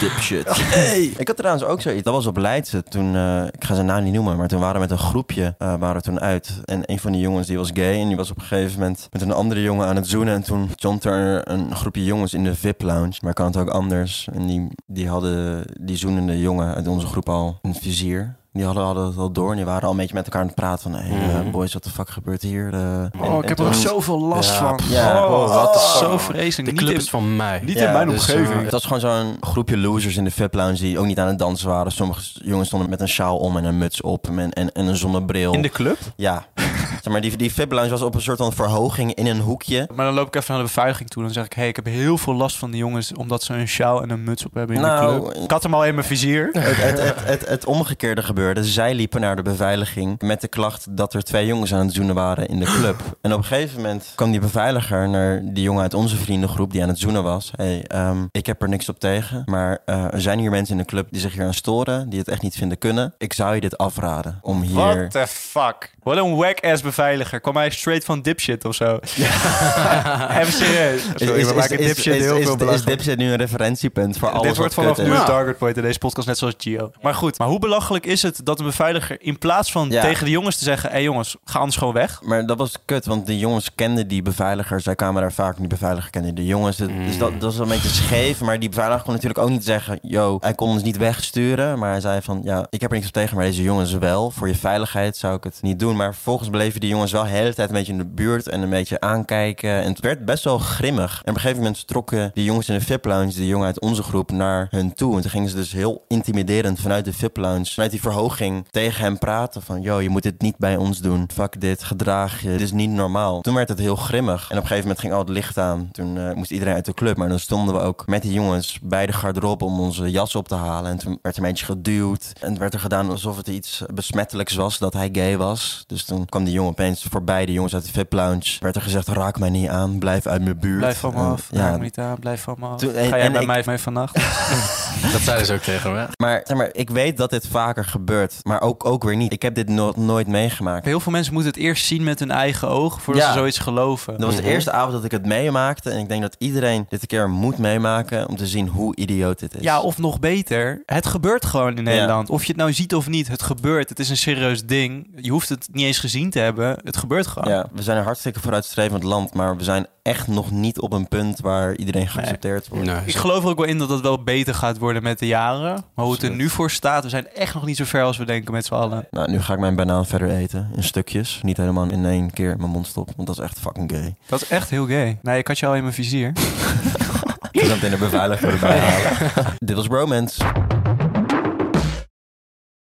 [SPEAKER 1] dipshit. Ik had trouwens ook zoiets. Dat was op Leidse. Toen, eh, ik ga zijn naam niet noemen, maar toen waren we met een groepje eh, waren we toen uit. En een van die jongens die was gay en die was op een gegeven moment met een andere jongen aan het zoenen. En toen stond er een groepje jongens in de VIP-lounge. Maar kan het ook anders. En die, die hadden die zoenende jongen uit onze groep al een vizier. Die hadden, hadden het al door en die waren al een beetje met elkaar aan het praten van... Hey, eh,
[SPEAKER 3] Mhm.
[SPEAKER 1] boys, wat de fuck gebeurt hier? Eh, en-
[SPEAKER 2] Oh,
[SPEAKER 1] en
[SPEAKER 2] ik heb er
[SPEAKER 1] toen-
[SPEAKER 2] nog zoveel last
[SPEAKER 3] Ja,
[SPEAKER 2] van.
[SPEAKER 1] pff, ja.
[SPEAKER 2] Oh,
[SPEAKER 1] Oh, what the fuck.
[SPEAKER 2] zo vreselijk.
[SPEAKER 3] De
[SPEAKER 2] Niet
[SPEAKER 3] club
[SPEAKER 2] in-
[SPEAKER 3] is van mij.
[SPEAKER 2] Niet
[SPEAKER 1] Ja, eh,
[SPEAKER 2] in mijn
[SPEAKER 3] dus,
[SPEAKER 2] omgeving.
[SPEAKER 1] Het was gewoon zo'n groepje losers in de VIP lounge die ook niet aan het dansen waren. Sommige jongens stonden met een sjaal om en een muts op en, en, en een zonnebril.
[SPEAKER 2] in de club?
[SPEAKER 1] Ja. <laughs> zeg maar, die, die VIP lounge was op een soort van verhoging in een hoekje.
[SPEAKER 2] Maar dan loop ik even naar de beveiliging toe. Dan zeg ik, hé, hey, ik heb heel veel last van de jongens... omdat ze een sjaal en een muts op hebben in de
[SPEAKER 1] Nou,
[SPEAKER 2] club. Ik had hem al in mijn vizier.
[SPEAKER 1] Het, het, het, het, het omgekeerde gebeurde. Zij liepen naar de beveiliging met de klacht dat er twee jongens aan het zoenen waren in de club. En op een gegeven moment kwam die beveiliger naar die jongen uit onze vriendengroep die aan het zoenen was. hey, ehm, ik heb er niks op tegen, maar eh, er zijn hier mensen in de club die zich hier aan storen, die het echt niet vinden kunnen. Ik zou je dit afraden om hier...
[SPEAKER 2] What the fuck? Wat een whack-ass beveiliger. Kwam hij straight van dipshit of zo? <laughs> Even serieus.
[SPEAKER 1] Is,
[SPEAKER 2] Sorry,
[SPEAKER 1] is, is,
[SPEAKER 2] we maken
[SPEAKER 1] is,
[SPEAKER 2] dipshit
[SPEAKER 1] is,
[SPEAKER 2] heel
[SPEAKER 1] is,
[SPEAKER 2] veel
[SPEAKER 1] is
[SPEAKER 2] belachelijk.
[SPEAKER 1] Dipset nu een referentiepunt voor alles
[SPEAKER 2] Dit wordt
[SPEAKER 1] wat
[SPEAKER 2] vanaf
[SPEAKER 1] kut
[SPEAKER 2] nu
[SPEAKER 1] is?
[SPEAKER 2] een target point in deze podcast, net zoals Gio. Maar goed, maar hoe belachelijk is het dat een beveiliger in plaats van
[SPEAKER 1] Ja.
[SPEAKER 2] tegen de jongens te zeggen... hé jongens, ga anders gewoon weg.
[SPEAKER 1] Maar dat was kut, want de jongens kenden die beveiliger. Zij kwamen daar vaak, en die beveiliger kende de jongens. Dat- Dus dat, dat was een beetje scheef. Maar die beveiliger kon natuurlijk ook niet zeggen... Yo, hij kon ons niet wegsturen. Maar hij zei van, ja, ik heb er niks op tegen, maar deze jongens wel. Voor je veiligheid zou ik het niet doen. Maar vervolgens bleven die jongens wel de hele tijd een beetje in de buurt... en een beetje aankijken. En het werd best wel grimmig. En op een gegeven moment trokken die jongens in de VIP-lounge... de jongen uit onze groep naar hun toe. En toen gingen ze dus heel intimiderend vanuit de VIP-lounge... vanuit die verhoging tegen hem praten van... yo, je moet dit niet bij ons doen. Fuck dit, gedraag je. Dit is niet normaal. Toen werd het heel grimmig. En op een gegeven moment ging al het licht aan. Toen eh, moest iedereen uit de club. Maar dan stonden we ook met die jongens bij de garderobe... om onze jas op te halen. En toen werd er een eentje geduwd. En het werd er gedaan alsof het iets besmettelijks was... dat hij gay was. Dus toen kwam die jongen opeens voorbij. De jongens uit de VIP-lounge. Werd er gezegd, raak mij niet aan. Blijf uit mijn buurt.
[SPEAKER 2] Blijf van me
[SPEAKER 1] En,
[SPEAKER 2] af,
[SPEAKER 1] Ja,
[SPEAKER 2] raak me niet aan, blijf van me af.
[SPEAKER 1] Toen- en-
[SPEAKER 2] Ga jij
[SPEAKER 1] en
[SPEAKER 2] bij
[SPEAKER 1] ik-
[SPEAKER 2] mij mee vannacht?
[SPEAKER 3] Dat zeiden ze ook tegen
[SPEAKER 2] <laughs>
[SPEAKER 3] me.
[SPEAKER 1] Maar, zeg maar ik weet dat dit vaker gebeurt, maar ook, ook weer niet. Ik heb dit no- nooit meegemaakt.
[SPEAKER 2] Heel veel mensen moeten het eerst zien met hun eigen ogen... voordat
[SPEAKER 1] Ja.
[SPEAKER 2] ze zoiets geloven.
[SPEAKER 1] Dat was de eerste avond dat ik het meemaakte. En ik denk dat iedereen dit een keer moet meemaken om te zien hoe idioot dit is.
[SPEAKER 2] Ja, of nog beter, het gebeurt gewoon in
[SPEAKER 1] Ja.
[SPEAKER 2] Nederland. Of je het nou ziet of niet, het gebeurt. Het is een serieus ding. Je hoeft het niet eens gezien te hebben. Het gebeurt gewoon.
[SPEAKER 1] Ja, we zijn een hartstikke vooruitstrevend land, maar we zijn echt nog niet op een punt waar iedereen geaccepteerd wordt.
[SPEAKER 3] Nee.
[SPEAKER 2] Ik geloof er ook wel in dat het wel beter gaat worden met de jaren. Maar hoe het er nu voor staat, we zijn echt nog niet zo ver als we denken met z'n allen.
[SPEAKER 1] Nou, nu ga ik mijn banaan verder eten, in stukjes. Niet helemaal in één keer in mijn mond stoppen, want dat is echt fucking gay.
[SPEAKER 2] Dat is echt heel gay. Nee, ik had je al in mijn vizier.
[SPEAKER 1] Ik ga dat in de beveiliger erbij halen. Dit was Bromance.